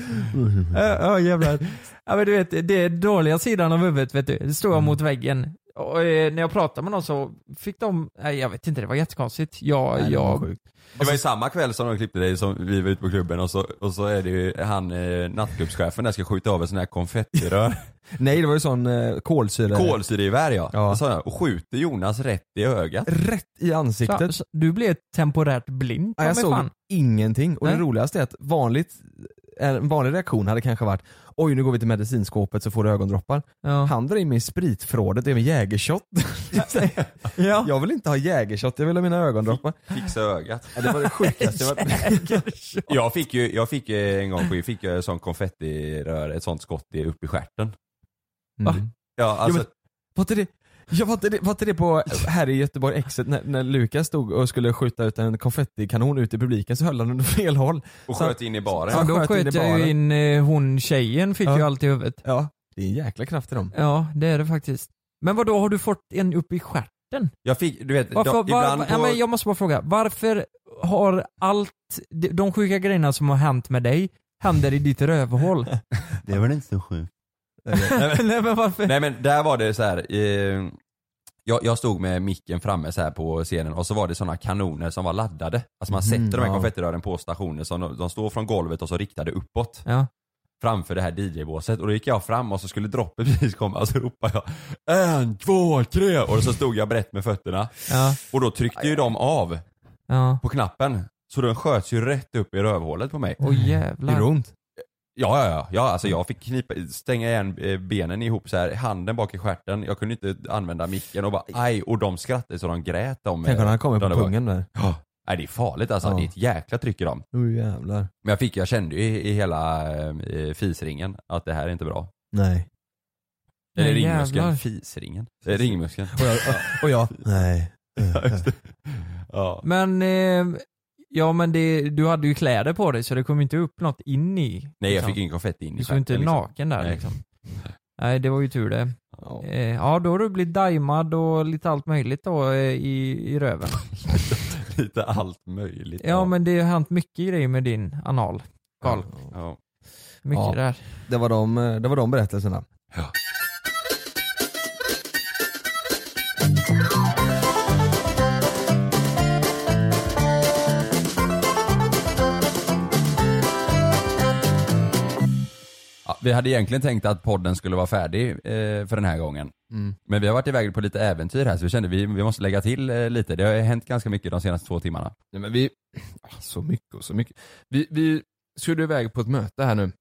S6: Ja jävlar. Ja men du vet, det är dåliga sidan av huvudet vet du. Det stod jag mot väggen. Och eh, när jag pratade med någon så fick de, nej jag vet inte, det var jättekonstigt. Jag,
S5: Nej, det var
S6: jag...
S5: Det var ju samma kväll som de klippte dig som vi var ute på klubben och så, och så är det ju han eh, nattklubbschefen där ska skjuta av en sån här konfettirör.
S2: Nej det var ju sån eh, kolsyre.
S5: Kolsyregevär ja.
S2: Ja.
S5: ja. jag och skjuter Jonas rätt i ögat.
S2: Rätt i
S6: Så,
S2: ansiktet.
S6: så, du blev temporärt blind
S2: Ja,
S6: ta
S2: jag
S6: mig
S2: såg
S6: fan.
S2: ingenting. Och
S6: Nej.
S2: det roligaste är att vanligt, eh, en vanlig reaktion hade kanske varit Oj nu går vi till medicinskåpet så får du ögondroppar. Han drar in mig i spritförrådet, det är med jägershot.
S6: ja.
S2: Jag vill inte ha jägershot, jag vill ha mina ögondroppar.
S5: Fixa ögat.
S2: Ja, det var det sjukaste jag
S5: varit. jag fick ju, jag fick eh, en gång på fick jag en sån konfettirör, ett sånt skott i- upp i stjärten.
S2: Mm.
S5: Ja alltså,
S2: Jo, men, var inte det, ja, var inte det, var inte det på, här i Göteborg Exit när, när Lukas stod och skulle skjuta ut en konfettikanon ut i publiken så höll han under fel håll.
S5: och
S2: Så-
S5: sköt in i baren.
S6: Ja, då
S2: sköt in i
S6: sköt jag ju
S2: baren.
S6: in eh, hon tjejen fick
S2: Ja.
S6: ju allt i huvudet.
S2: Ja, det är en jäkla kraft i dem.
S6: Ja, det är det faktiskt. Men vad då har du fått en upp i stjärten?
S5: Jag fick, du vet,
S6: Varför,
S5: de,
S6: var,
S5: ibland
S6: ja,
S5: på...
S6: men jag måste bara fråga, varför har allt, de- de sjuka grejerna som har hänt med dig, händer i ditt rövhål?
S5: Det var inte så sjukt.
S6: Nej, men, varför?
S5: Nej men där var det så här. Eh, jag, jag stod med micken framme så här på scenen och så var det sådana kanoner som var laddade. Alltså man
S6: Mhm,
S5: sätter de här
S6: ja.
S5: konfettirören på stationer, som de, de står från golvet och så riktade uppåt.
S6: Ja.
S5: framför det här DJ-båset och då gick jag fram och så skulle droppet precis komma och så ropade jag En, två, tre och så stod jag brett med fötterna.
S6: Ja.
S5: Och då tryckte ju de av
S6: Ja.
S5: på knappen. Så den sköts ju rätt upp i rövhålet på mig.
S6: Åh, jävlar. Gjorde det ont?
S5: Ja, ja, ja. ja alltså jag fick knipa, stänga igen eh, benen ihop så här, handen bak i stjärten. Jag kunde inte använda micken och bara aj. Och de skrattade så de grät. De,
S20: Tänk om
S5: eh,
S20: den hade kommit
S5: de
S20: på
S5: där-
S20: pungen där.
S5: Ja. Nej, det är farligt alltså.
S20: Ja.
S5: Det är ett jäkla tryck i dem.
S20: Oh, jävlar.
S5: Men jag, fick, jag kände ju i, i hela eh, fisringen att det här är inte bra.
S20: Nej.
S5: Eller
S20: Nej,
S5: ringmuskeln.
S20: jävlar.
S5: Fisringen. Eh, ringmuskeln.
S20: Och jag- och jag, nej.
S5: Ja, just det. ja.
S6: Men, eh, ja men det, du hade ju kläder på dig så det kom inte upp något in i. liksom.
S5: Nej, jag fick ingen konfetti in i
S6: Du såg inte
S5: stjärten, liksom.
S6: naken där
S5: Nej.
S6: liksom. Nej, det var ju tur det. Eh, ja, då har du blivit daimad och lite allt möjligt då eh, i, i röven.
S5: Lite allt möjligt.
S6: ja, men det har hänt mycket grejer med din anal, Karl.
S5: Ja.
S6: Mycket
S20: Ja.
S6: där.
S20: Det var de, eh, det var de berättelserna.
S5: Ja, vi hade egentligen tänkt att podden skulle vara färdig eh, för den här gången.
S20: Mm.
S5: Men vi har varit iväg på lite äventyr här så vi kände vi, vi måste lägga till eh, lite. Det har ju hänt ganska mycket de senaste två timmarna.
S2: Nej, men vi, ah, så mycket och så mycket. Vi, vi skulle iväg på ett möte här nu.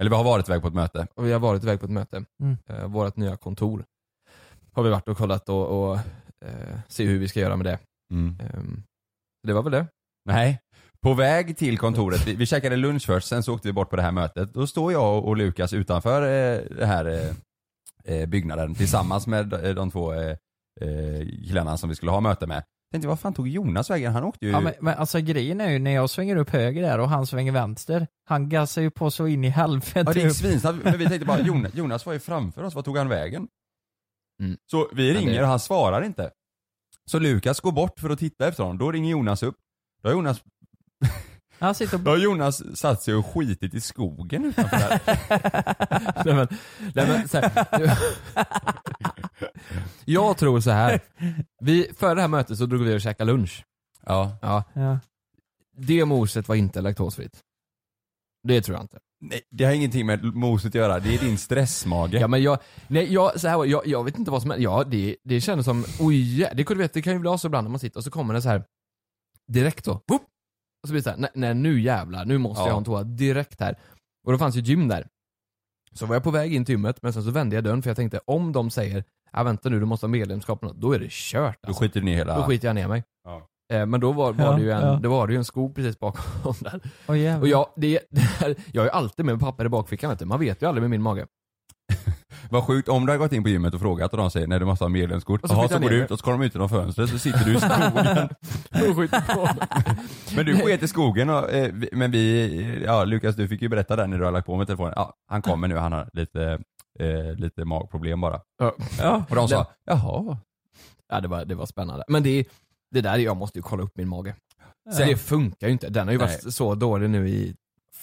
S5: Eller vi har varit iväg på ett möte.
S2: Och vi har varit iväg på ett möte.
S6: Mm.
S2: Eh, vårt nya kontor har vi varit och kollat och, och eh, se hur vi ska göra med det.
S5: Mm.
S2: Ehm, det var väl det.
S5: Nej. På väg till kontoret, vi, vi käkade lunch först, sen så åkte vi bort på det här mötet. Då står jag och, och Lukas utanför eh, den här eh, eh, byggnaden tillsammans med eh, de två eh, eh, killarna som vi skulle ha möte med. Tänkte vad fan tog Jonas vägen? Han åkte ju...
S6: Ja, men, men alltså grejen är ju när jag svänger upp höger där och han svänger vänster, han gassar ju på så in i helvete.
S5: Ja, det gick
S6: upp.
S5: svinsnabbt, men vi tänkte bara Jonas, Jonas var ju framför oss, vart tog han vägen? Så vi
S2: Ja, det-
S5: ringer och han svarar inte. Så Lukas går bort för att titta efter honom, då ringer Jonas upp. Då har Jonas,
S6: Han sitter
S5: då har Jonas satt sig och skitit i skogen utanför där.
S2: nej, men, nej, men, så här, jag tror så här. Vi, före det här mötet så drog vi och käkade lunch.
S5: Ja.
S6: Ja.
S2: Det moset var inte laktosfritt. Det tror jag inte.
S5: Nej, det har ingenting med moset att göra, det är din stressmage.
S2: Ja men jag, nej jag, så här, var- jag, jag vet inte vad som är, ja det, det kändes som, oj, jä- det, kunde, du vet, det kan ju bli så ibland när man sitter och så kommer det så här direkt så, boop, och så blir det så här, nej, nej nu jävlar, nu måste
S5: Ja.
S2: jag ha en toa direkt här. Och då fanns ju ett gym där. Så var jag på väg in till gymmet, men sen så vände jag dörren för jag tänkte om de säger, ja vänta nu du måste ha medlemskap, eller något", då är det kört. alltså.
S5: Då skiter du ner hela...
S2: Då skiter jag ner mig.
S5: Ja.
S2: Eh, Men då var, var,
S5: Ja,
S2: det ju en,
S5: ja.
S2: då var det ju en skog precis bakom där.
S6: Åh, jävlar.
S2: och jag, det, det här, jag är ju alltid med papper i bakfickan vet du. Man vet ju aldrig med min mage.
S5: Vad sjukt, om du har gått in på gymmet och frågat och de säger nej du måste ha medlemskort.
S2: Och
S5: Och
S2: så
S5: så,
S2: flyttar
S5: Jaha, så går
S2: ner
S5: du
S2: det.
S5: ut och så kommer de ut genom fönstret så sitter du i skogen. men du sket i skogen och, eh, vi- men vi, ja Lukas du fick ju berätta där när du har lagt på med telefonen. Ja, han kommer nu, han har lite, eh, lite magproblem bara.
S2: Ja.
S5: Och de sa,
S2: jaha. Ja det var, det var spännande. Men det, det där, är- jag måste ju kolla upp min mage.
S5: Sen-
S2: det funkar ju inte. Den har ju varit
S5: Nej.
S2: så dålig nu i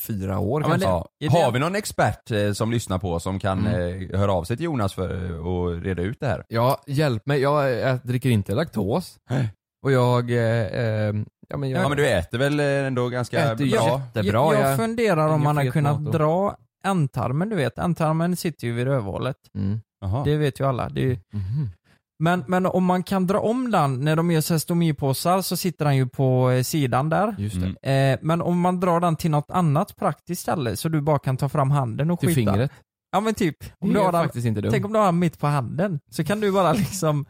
S2: fyra år
S5: Ja, men
S2: kanske.
S5: det, Har vi någon expert eh, som lyssnar på oss som kan
S2: Mm.
S5: eh, höra av sig till Jonas för eh, och reda ut det här?
S2: Ja, hjälp mig. Jag, eh, jag dricker inte laktos. Och jag, eh, eh, ja men jag...
S5: Ja men du äter väl eh, ändå ganska
S2: Äter
S5: bra?
S2: jättebra.
S6: Jag,
S2: jag-
S6: jag funderar om
S2: ingen
S6: man har
S2: fet
S6: kunnat
S2: mat då.
S6: dra ändtarmen, du vet. Ändtarmen sitter ju vid rövhålet.
S5: Jaha.
S6: Det vet ju alla. Det är ju...
S2: Mhm.
S6: men, men om man kan dra om den, när de gör cystomipåsar så sitter den ju på eh, sidan där.
S2: Just
S6: Eh, men om man drar den till något annat praktiskt ställe så du bara kan ta fram handen och
S2: Till
S6: skita.
S2: fingret?
S6: Ja men typ.
S2: Det är
S6: du har den-
S2: faktiskt inte dumt.
S6: Tänk om du har den mitt på handen. Så kan du bara liksom,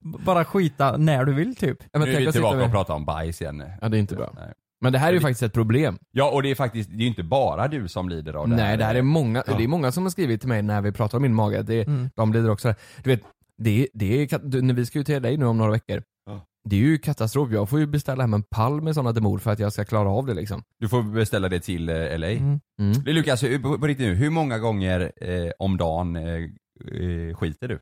S6: bara skita när du vill typ.
S5: nu är vi tillbaka och pratar om bajs igen.
S2: Ja det är inte bra. Men det här är ju faktiskt ett problem.
S5: Ja och det är faktiskt, det är ju inte bara du som lider av det
S2: Nej, det här är många,
S5: Ja.
S2: det är många som har skrivit till mig när vi pratar om min mage. Det,
S5: Mm.
S2: De lider också Du vet, det, det är, kat- du, när vi ska ju till dig nu om några veckor. Det är ju katastrof. Jag får ju beställa hem en pall med sådana demor för att jag ska klara av det liksom.
S5: Du får beställa det till eh, LA.
S2: Mm. Mm.
S5: Det är Lukas, hur- på, på riktigt nu, hur många gånger eh, om dagen eh, eh, skiter du?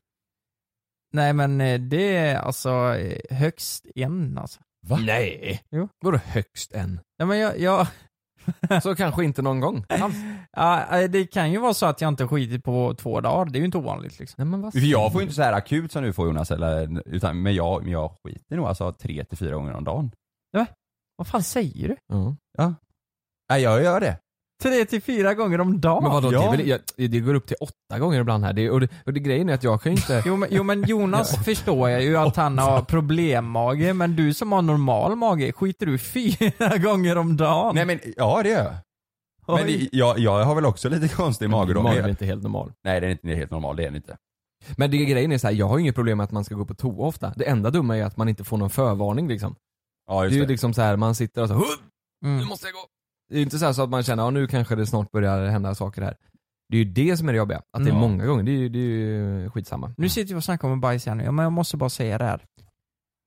S6: Nej men eh, det är alltså eh, högst en alltså.
S5: Va?
S2: Nej!
S6: Jo.
S2: Vadå högst en?
S6: Ja men jag, jag...
S2: Så kanske inte någon gång alls.
S6: ja, eh, det kan ju vara så att jag inte skitit på två dagar, det är ju inte ovanligt liksom.
S2: Nej, men vad
S5: För jag får ju inte så här akut som du får Jonas, eller, utan, men, jag, men jag skiter nog alltså tre till fyra gånger om dagen.
S6: Vad fan säger du?
S2: Ja.
S5: ja. Nej jag gör det.
S6: Tre till fyra gånger om dagen.
S5: Men vadå, det, är väl, jag, det går upp till åtta gånger ibland här. Det, och, det, och det, grejen är att jag kan ju inte...
S6: Jo men, jo, men Jonas förstår jag ju att han har problemmage, men du som har normal mage, skiter du fyra gånger om dagen?
S21: Nej men, ja det gör jag. Men det, jag, jag har väl också lite konstig mage då.
S5: Magen är inte helt normal.
S21: Nej den är inte helt normal, det är den inte.
S5: Men det, grejen är så här, jag har ju inget problem med att man ska gå på toa ofta. Det enda dumma är att man inte får någon förvarning liksom.
S21: Ja, just
S5: det är ju
S21: det.
S5: liksom så här, man sitter och så "Huh!
S6: Mm.
S5: nu måste jag gå. Det är ju inte så, här så att man känner, ja nu kanske det snart börjar hända saker här. Det är ju det som är det jobbiga, att det
S6: Mm.
S5: är många gånger, det är ju, det är ju skitsamma.
S6: Nu sitter vi och snackar om bajs igen, ja, men jag måste bara säga det här.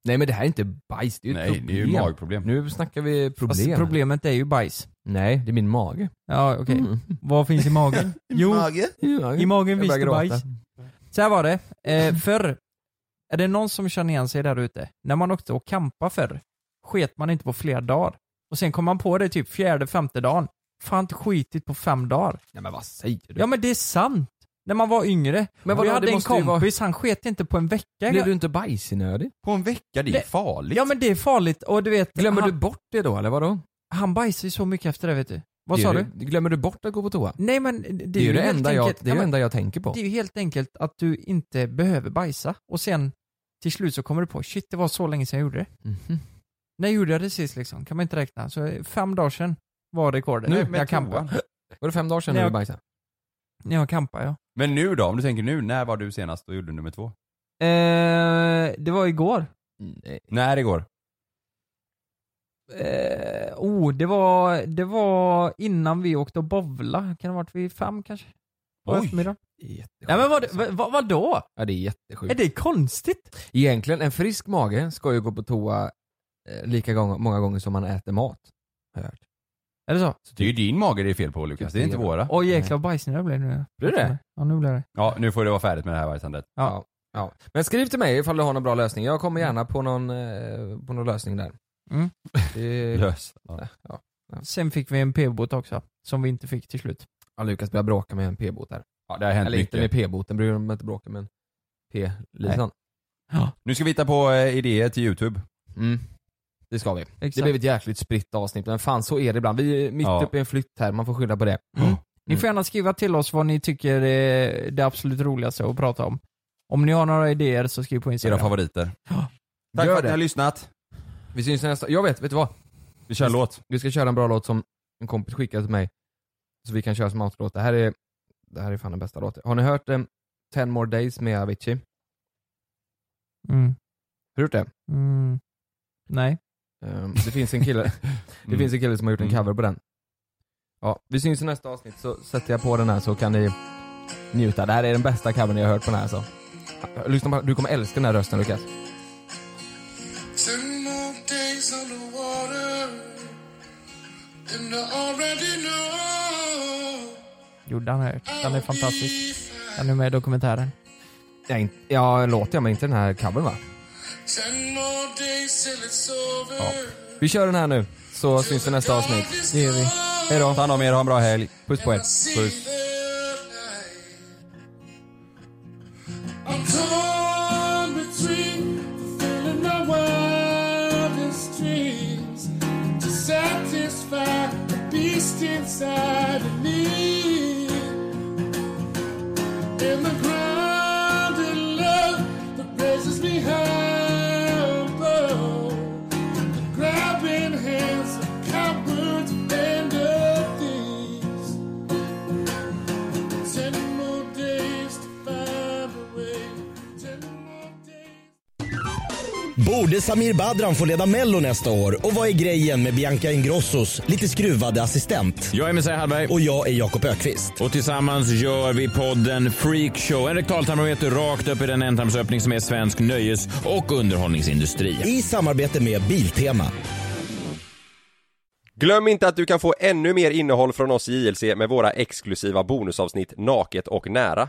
S5: Nej men det här är inte bajs, det är ju ett
S6: Nej, det är ju magproblem.
S5: Nu snackar vi alltså, problem.
S6: Fast Alltså, problemet är ju bajs.
S5: Nej, det är min mage. Mm.
S6: Ja, okej. Vad finns i magen? Jo,
S5: I magen,
S6: i magen
S5: Jag
S6: finns
S5: börjar
S6: det
S5: gråta.
S6: bajs. Så här var det. Eh, förr, är det någon som känner igen sig där ute? När man åkte och kampa förr, sket man inte på flera dagar. Och sen kom man på det typ fjärde, femte dagen. Fan, inte skitit på fem dagar.
S5: Nej men vad säger du?
S6: Ja men det är sant. När man var yngre.
S5: Men vadå,
S6: och jag
S5: det
S6: hade en
S5: måste ju
S6: kompis, han sket inte på en vecka.
S5: Blev du inte bajsnödig?
S21: På en vecka? Det är ju farligt.
S6: Ja men det är farligt och du vet.
S5: Glömmer du bort det då eller vadå?
S6: Han bajsar ju så mycket efter det vet du. Vad
S5: Det
S6: sa
S5: är
S6: du?
S5: ju- Glömmer du bort att gå på toa?
S6: Nej men det,
S5: Det är ju det
S6: helt
S5: enda jag- det
S6: enkelt-
S5: är ju
S6: Ja, men
S5: enda jag tänker på.
S6: Det är ju helt enkelt att du inte behöver bajsa och sen till slut så kommer du på shit det var så länge sedan jag gjorde det. När gjorde jag det sist liksom? Kan man inte räkna. Så eh, fem dagar sedan var rekordet.
S21: Nu,
S6: när
S21: med
S6: jag
S21: toan.
S6: campade.
S5: Var det fem dagar sedan
S6: När
S5: du
S6: jag-
S5: bajsade?
S6: När jag campade ja.
S21: Men nu då, om du tänker nu, när var du senast och gjorde nummer två?
S6: Eh, det var igår.
S5: Mm,
S21: När igår?
S6: Eh, oh, det var, det var innan vi åkte och bovla. Kan det ha varit vid fem kanske? På
S5: Oj.
S6: eftermiddagen. Nej men vad, vad, vadå?
S5: Ja det är jättesjukt.
S6: Är det konstigt?
S5: Egentligen, en frisk mage ska ju gå på toa eh, lika gång, många gånger som man äter mat. Har jag hört.
S6: Är det så?
S21: Det är ju din mage det är fel på Lukas, det är inte våra.
S6: Åh jäklar vad bajsnödig jag blev nu.
S5: Blir det?
S6: Ja nu blir det.
S21: Ja, nu får det vara färdigt med det här vargsandet.
S5: Ja. ja. Men skriv till mig ifall du har någon bra lösning. Jag kommer gärna på någon, eh, på någon lösning där.
S6: Mm.
S5: Det...
S21: Lös.
S5: Ja. Ja.
S6: Sen fick vi en p-bot också, som vi inte fick till slut.
S5: Ja, Lukas börjar bråka med en p-bot här.
S21: Ja, det har hänt
S5: Eller inte med
S21: mycket.
S5: p-boten, bryr de mig inte bråka med en p-lisan.
S21: Nu ska vi hitta på eh, idéer till YouTube.
S5: Mm. Det ska vi. Det blev ett jäkligt spritt avsnitt, men fan så är det ibland. Vi är mitt
S21: Ja.
S5: uppe i en flytt här, man får skylla på det. Mm.
S6: Ni
S21: Mm.
S6: får gärna skriva till oss vad ni tycker är det absolut roligaste att prata om. Om ni har några idéer så skriv på Instagram.
S21: Era favoriter.
S5: Tack
S21: för att ni har lyssnat.
S5: Vi syns nästa, jag vet, vet du vad?
S21: Vi kör en låt.
S5: Vi ska köra en bra låt som en kompis skickade till mig. Så vi kan köra som outro-låt. Det här är, det här är fan den bästa låten. Har ni hört um, 10 more days med Avicii?
S6: Mm.
S5: Har du gjort det?
S6: Mm. Nej.
S5: Ehm, det finns en kille Det finns en kille som har gjort en cover på den. Ja, vi syns i nästa avsnitt så sätter jag på den här så kan ni njuta. Det här är den bästa covern jag har hört på den här så. Lyssna på, du kommer älska den här rösten Lukas.
S22: Ten more days on the water, and I already know.
S6: Gjorde han här. Den är fantastisk. Den är med i dokumentären.
S5: Ja, in- ja låter jag men inte den här covern va?
S22: Ten more days till it's over.
S5: Vi kör den här nu så syns vi i nästa avsnitt. Det gör vi. Hej då. Ta
S21: hand om er, ha en bra helg.
S5: Puss på er.
S22: Puss. I'm torn between the feeling my wildest dreams to satisfy the beast inside of me. In the grounded love that raises me humble, the grabbing hands of cowards and of thieves. Ten more days to find a way. Ten more days.
S2: Borde Samir Badran få leda Mello nästa år? Och vad är grejen med Bianca Ingrossos lite skruvade assistent?
S15: Jag är Messiah Hallberg.
S2: Och jag är Jakob Ökvist.
S15: Och tillsammans gör vi podden Freakshow. En rektaltarmometer rakt upp i den ändtarmsöppning som är svensk nöjes och underhållningsindustri.
S2: I samarbete med Biltema.
S23: Glöm inte att du kan få ännu mer innehåll från oss i JLC med våra exklusiva bonusavsnitt Naket och nära.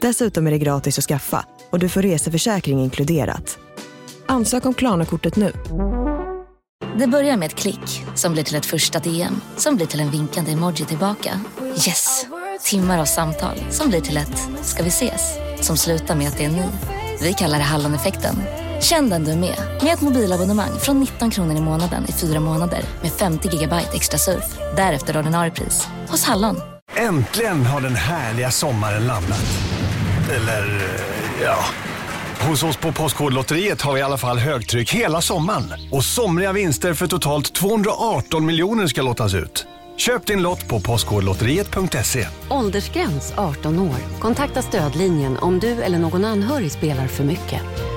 S1: Dessutom är det gratis att skaffa och du får reseförsäkring inkluderat. Ansök om Klarna-kortet nu.
S24: Det börjar med ett klick som blir till ett första DM som blir till en vinkande emoji tillbaka. Yes! Timmar av samtal som blir till ett “ska vi ses?” som slutar med att det är ni. Vi kallar det Halloneffekten. Känn den du är med, med ett mobilabonnemang från 19 kronor i månaden i fyra månader med 50 gigabyte extra surf. Därefter ordinarie pris, hos Hallon.
S25: Äntligen har den härliga sommaren landat. Eller, eh, ja. Hos oss på Postkodlotteriet har vi i alla fall högtryck hela sommaren. Och somriga vinster för totalt 218 miljoner ska lottas ut. Köp din lott på postkodlotteriet.se.
S26: Åldersgräns 18 år. Kontakta stödlinjen om du eller någon anhörig spelar för mycket.